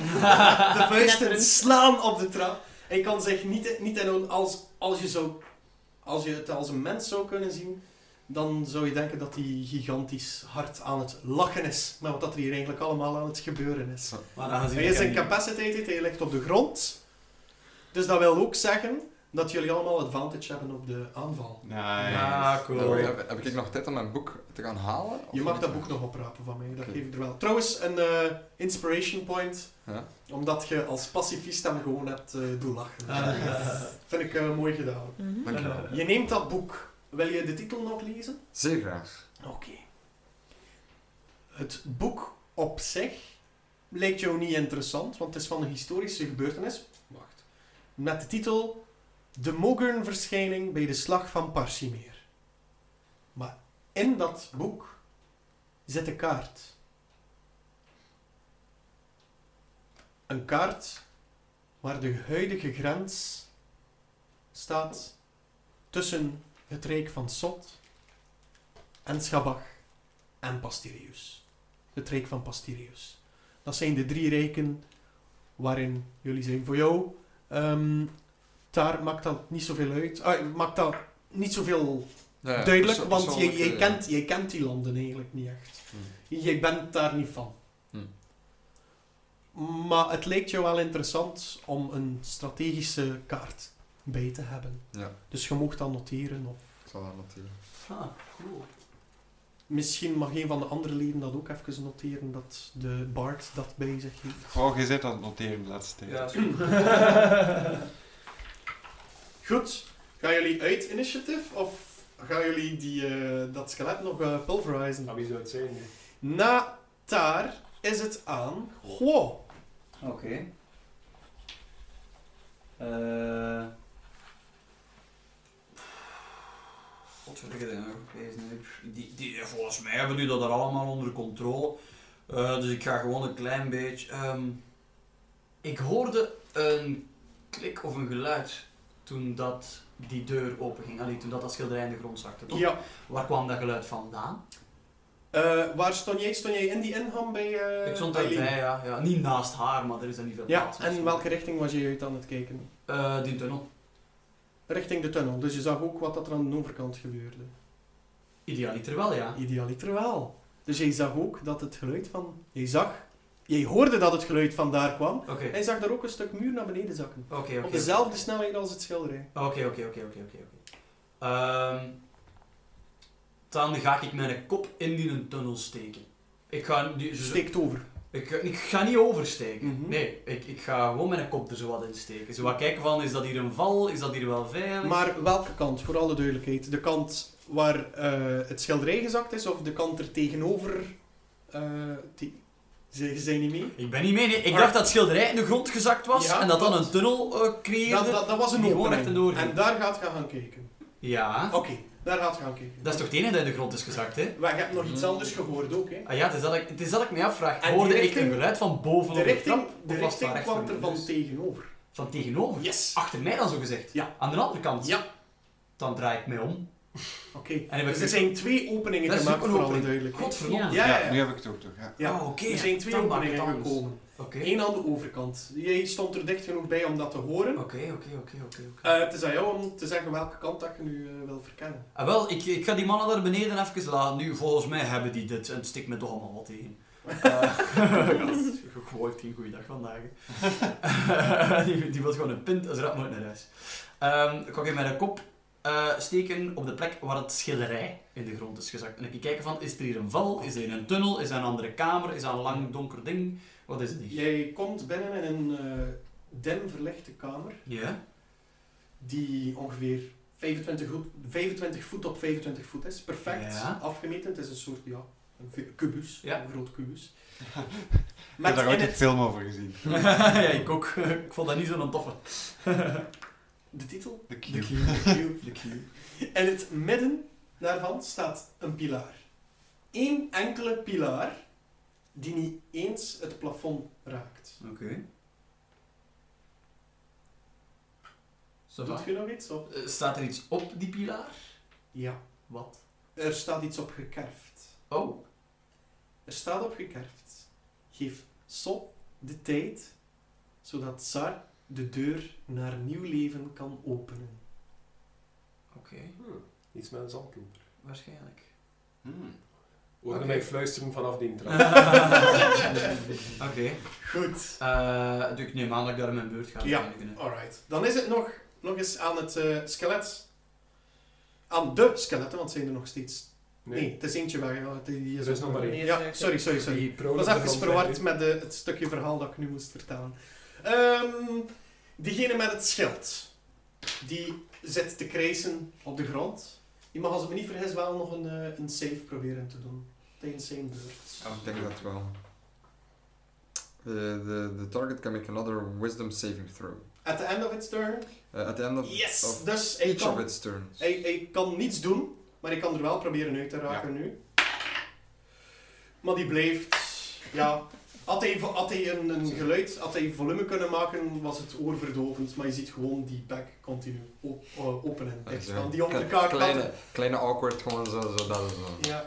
D: De vuisten slaan op de trap. Hij kan zich niet, niet inhouden. Als, als, je zou, als je het als een mens zou kunnen zien, dan zou je denken dat hij gigantisch hard aan het lachen is. Met wat dat er hier eigenlijk allemaal aan het gebeuren is.
A: Maar dan gaan ze
D: Hij is incapacitated, hij ligt op de grond. Dus dat wil ook zeggen dat jullie allemaal advantage hebben op de aanval.
C: Nice.
A: Ah, cool.
I: Eh, heb, heb ik nog tijd om mijn boek te gaan halen?
D: Je
I: Of
D: mag
I: niet?
D: dat boek nog oprapen van mij, dat
I: Oké.
D: geef ik er wel. Trouwens, een eh, inspiration point,
I: Ja.
D: omdat je als pacifist hem gewoon hebt eh doen lachen.
A: Ah, yes.
D: Vind ik eh, mooi gedaan.
E: Mhm.
I: Dankjewel.
D: Je neemt dat boek. Wil je de titel nog lezen?
I: Zeer graag.
D: Oké. Het boek op zich lijkt jou niet interessant, want het is van een historische gebeurtenis. Wacht. Met de titel De Mogern-verschijning bij de slag van Parsimeer. Maar in dat boek zit een kaart. Een kaart waar de huidige grens staat tussen het rijk van Sot en Schabach en Pastireus. Het rijk van Pastireus. Dat zijn de drie rijken waarin jullie zijn. Voor jou, ehm, daar maakt dat niet zoveel uit. Ah, maakt dat niet zoveel
I: Ja, ja,
D: Duidelijk,
I: perso- eh,
D: want je, je,
I: persoonlijke- Hm.
D: kent, je kent die landen eigenlijk niet echt. Je bent daar niet van.
I: Hmm.
D: Maar het lijkt jou wel interessant om een strategische kaart bij te hebben.
I: Ja,
D: Dus je mag dat noteren. Of
I: ik zal dat noteren.
A: Ah, cool.
D: misschien mag een van de andere leden dat ook even noteren, dat de Bard dat bij zich heeft.
C: Gewoon gezet Oh, aan het noteren de laatste tijd.
A: Ja, super.
D: Goed, gaan jullie uit initiatief of gaan jullie die, eh, dat skelet nog eh, pulverizen?
B: Ah, wie zou het zijn? hè?
D: Na daar is het aan Guo.
A: Oké. Eh. Godverdikke de Europees nu. Die, die, volgens mij hebben die dat er allemaal onder controle. Eh, dus ik ga gewoon een klein beetje. ehm, ik hoorde een klik of een geluid toen dat die deur openging. Allee, toen dat, dat schilderij in de grond zakte. toch?
D: Ja,
A: Waar kwam dat geluid vandaan?
D: Eh, waar stond jij? Stond jij in die ingang bij eh,
A: ik stond
D: Eileen?
A: daarbij, ja, ja. Niet naast haar, maar er is dan niet veel
D: Ja,
A: plaats.
D: en welke richting was je uit aan het kijken?
A: Eh, die tunnel.
D: Richting de tunnel, dus je zag ook wat dat er aan de overkant gebeurde.
A: Idealiter wel, ja.
D: Idealiter wel. Dus jij zag ook dat het geluid van... Jij zag... Jij hoorde dat het geluid vandaar kwam.
A: Oké,
D: Hij zag daar ook een stuk muur naar beneden zakken.
A: oké,
D: Op
A: oké.
D: dezelfde snelheid als het schilderij.
A: Oké, oké, oké, oké, oké. oké. Ehm, Dan ga ik mijn kop in die een tunnel steken. Ik ga, die, zo-
D: Steekt Dus over.
A: ik, ik ga niet oversteken.
D: Mhm.
A: Dus Nee, ik, ik ga gewoon mijn kop er zo wat in steken. Zo wat kijken van, is dat hier een val? Is dat hier wel veilig?
D: Maar welke kant, voor alle duidelijkheid? De kant waar eh, het schilderij gezakt is, of de kant er tegenover... eh die... Ze zijn niet mee?
A: Ik ben niet mee, nee. Ik
D: Maar-
A: dacht dat het schilderij in de grond gezakt was
D: Ja,
A: en dat dan
D: dat-
A: een tunnel eh,
D: Dat,
A: creëerde.
D: dat, dat was een
A: Die gewoon
D: opening.
A: recht erdoor ging.
D: En daar gaat je gaan kijken.
A: Ja,
D: Oké, daar gaat je gaan kijken.
A: dat is toch het enige dat in de grond is gezakt, hè?
D: Maar je hebt nog iets anders gehoord ook, hè?
A: Ah ja, het is dat ik, het is dat ik me afvraag.
D: En die
A: Hoorde ik
D: richting-
A: een geluid van boven
D: De
A: op de
D: richting,
A: trap?
D: de
A: Of was het
D: richting
A: daar
D: kwam
A: rechter
D: er van
A: dus?
D: tegenover. Oh,
A: Van tegenover?
D: Yes!
A: Achter mij dan zo gezegd?
D: Ja.
A: Aan de andere kant?
D: Ja.
A: Dan draai ik mij om.
D: Oké.
A: En heb ik
D: Dus er zijn twee openingen
A: Dat is
D: gemaakt,
A: ook een
D: voor alle
A: opening.
D: duidelijkheid.
A: Godverdomme.
D: Ja, ja,
C: Ja,
D: ja.
C: nu heb ik het ook toch. Ja.
D: Ja.
A: Ah, oké.
D: Er zijn twee
A: Dan maakt het
D: openingen
A: anders.
D: gekomen.
A: Oké. Oké,
D: Eén aan de overkant. Jij stond er dicht genoeg bij om dat te horen.
A: oké, oké, oké, oké. oké.
D: Eh, het is aan jou om te zeggen welke kant dat je nu eh, wil verkennen.
A: Ah, wel, ik, ik ga die mannen daar beneden even laten. Nu, volgens mij hebben die dit en het stikt me toch allemaal wat tegen. Eh, Gewoon heeft geen goede dag vandaag. hè. die, die wil gewoon een pint als rat moet naar huis. Ehm, ik ga even mijn kop eh, steken op de plek waar het schilderij in de grond is gezakt. En dan ga ik kijken van, is er hier een val? Is er hier een tunnel? Is er een andere kamer? Is er een lang donker ding? Wat is het hier?
D: Jij komt binnen in een eh dim verlichte kamer.
A: Ja?
D: die ongeveer 25, goed- 25 voet op 25 voet is. Perfect
A: Ja.
D: afgemeten. Het is een soort, ja, een ve- kubus.
A: Ja.
D: Een groot kubus.
C: Ik heb
D: Met
C: daar
D: in
C: ooit een
D: het,
C: film over gezien.
A: ja, ik ook. Ik vond dat niet zo'n toffe.
D: de titel?
A: De
C: De Cube.
A: cube.
D: Cube.
A: De cube.
D: In het midden daarvan staat een pilaar. Eén enkele pilaar die niet eens het plafond raakt.
A: Oké. Okay.
D: Doet je nog iets? Of?
A: Eh, staat er iets op die pilaar?
D: Ja.
A: Wat?
D: Er staat iets op gekerfd.
A: Oh.
D: Er staat op gekerfd. Geef Sol de tijd, zodat Sar de deur naar nieuw leven kan openen.
A: Oké.
B: Hm, Iets met een zandloper.
A: Waarschijnlijk.
C: Hmm.
B: Hoorde
A: Oké.
B: mij fluisteren vanaf die trap.
A: Oké.
D: Goed.
A: Eh, dus ik neem aan dat ik daar in mijn beurt ga.
D: Ja.
A: eindigen, hè.
D: Alright. Dan is het nog, nog eens aan het eh, skelet. Aan de skeletten, want zijn er nog steeds... Nee, het is eentje weg. ja, die- die
B: Er is
D: ook
B: nog maar
D: weg.
B: één.
D: Ja, sorry, sorry, sorry.
B: Die
D: Ik was
B: prolen
D: even
B: van-
D: verward met de, het stukje verhaal dat ik nu moest vertellen. Ehm, diegene met het schild, die zit te krijsen op de grond. Die mag, als ik me niet vergis, wel nog een, eh, een save proberen te doen. Tijdens zijn beurt.
I: Ja, ik denk dat wel. The, the, the target can make another wisdom saving throw.
D: At the end of its turn.
I: Uh, at the end of,
D: Yes!
I: of
D: Dus hij
I: each of
D: kan,
I: its turns.
D: hij, hij kan niets doen, maar ik kan er wel proberen uit te raken nu. Maar die blijft, ja, Had hij, vo- had hij een, een geluid, had hij volume kunnen maken, was het oorverdovend. Maar je ziet gewoon die bek continu op, eh, open en dicht gaan. Die onderkaak
I: Kleine, kleine awkward, gewoon zo, zo, dat is zo.
D: Ja,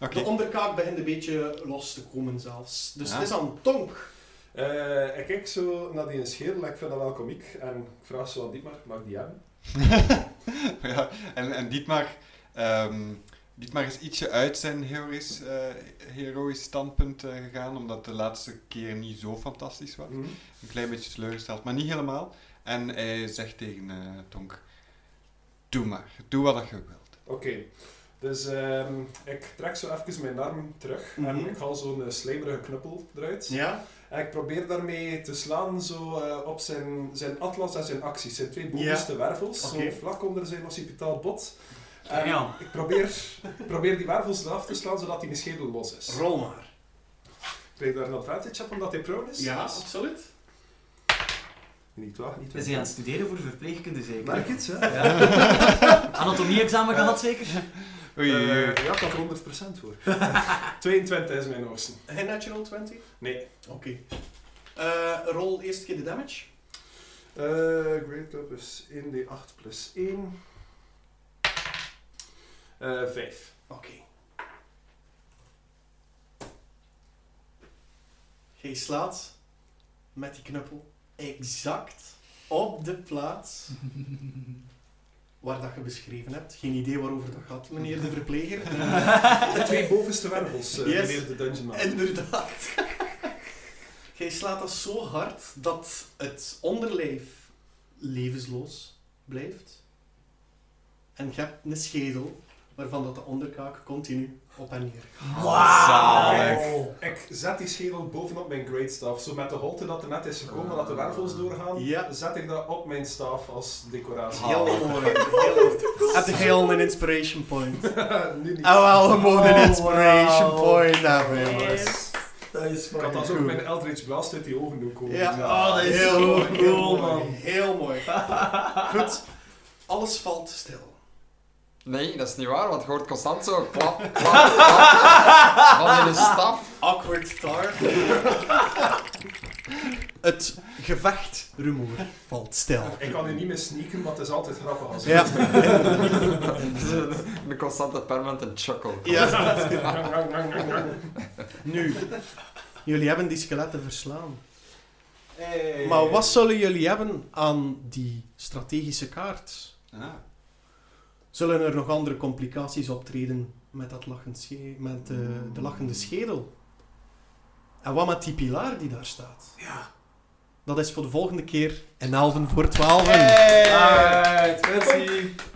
C: Oké.
D: de onderkaak begint een beetje los te komen zelfs. Dus
C: Ja.
D: het is aan tonk.
B: Eh, ik kijk zo naar die schedel, ik vind dat wel komiek. En ik vraag zo aan Dietmar, mag ik die hebben?
C: ja, en, en Dietmar, ehm, Dietmar is ietsje uit zijn heroïs, eh, heroïs standpunt eh, gegaan, omdat de laatste keer niet zo fantastisch was.
B: Mhm.
C: Een klein beetje teleurgesteld, maar niet helemaal. En hij zegt tegen eh, Tonk, doe maar, doe wat je wilt.
B: Oké. Dus ehm, ik trek zo even mijn arm terug
D: Mhm.
B: en ik haal zo'n eh, slijmerige knuppel eruit.
D: Ja?
B: En ik probeer daarmee te slaan zo, eh, op zijn, zijn atlas en zijn acties. Zijn twee bovenste wervels,
D: Oké.
B: zo vlak onder zijn occipitaal bot. En
A: Geniaal.
B: ik probeer, ik probeer die wervels af te slaan zodat hij mijn schedel los is.
D: Rol maar.
B: Ik krijg daar een advantage op omdat hij prone is.
D: Ja,
B: Dus-
D: absoluut.
B: Niet waar, niet waar.
A: Is hij aan het studeren voor verpleegkunde zeker?
B: Merk iets, hè? Eh,
A: Anatomie-examen gehad zeker?
C: Oei, oei, oei.
B: Eh, ja, ik had er 100% voor. 22 is mijn oogsten.
D: En natural 20?
B: Nee.
D: Oké. Eh, rol eerst keer de damage.
B: Eh great Club is 1d8 plus 1. Eh 5.
D: Oké. Jij slaat met die knuppel exact op de plaats waar dat je beschreven hebt. Geen idee waarover dat gaat, meneer de verpleger.
B: De twee bovenste wervels, eh
D: Yes.
B: meneer de Dungeon Master.
D: Inderdaad. Jij slaat dat zo hard dat het onderlijf levensloos blijft. En je hebt een schedel waarvan dat de onderkaak continu op en neer gaat.
B: Kijk, Ik zet die schedel bovenop mijn great staff. Zo met de holte dat er net is gekomen, dat de wervels doorgaan,
D: Ja.
B: zet ik dat op mijn staaf als decoratie.
D: Heel mooi. Heel... Heb je al een inspiration point?
B: nu niet.
S: Ah, wel, gewoon een
A: Oh,
S: inspiration
A: wauw.
S: point
D: Oh
S: hebben, jongens.
E: Yes.
A: Dat is
B: Ik had
A: fucking
B: dat ook
A: goed.
B: mijn Eldritch Blast uit die ogen doen komen.
D: Ja. Ah,
A: Oh, dat is
D: heel
A: zo
D: mooi, heel
A: cool,
D: mooi,
A: man.
D: Heel mooi. Goed. Alles valt stil.
I: Nee, dat is niet waar, want je hoort constant zo klap, klap, klap van de staf.
D: Awkward tar. het gevecht rumoer valt stil.
B: Ik kan nu niet meer sneaken, want het is altijd grappig als ik
D: Ja.
I: Zo, Een constante permanente chuckle.
D: ja. Nu, jullie hebben die skeletten verslaan.
B: Hey.
D: Maar wat zullen jullie hebben aan die strategische kaart?
C: Ah,
D: Zullen er nog andere complicaties optreden met, dat lachend sche- met eh, de lachende schedel? En wat met die pilaar die daar staat?
A: Ja.
D: Dat is voor de volgende keer in elven voor twaalfen.
B: Alright, merci.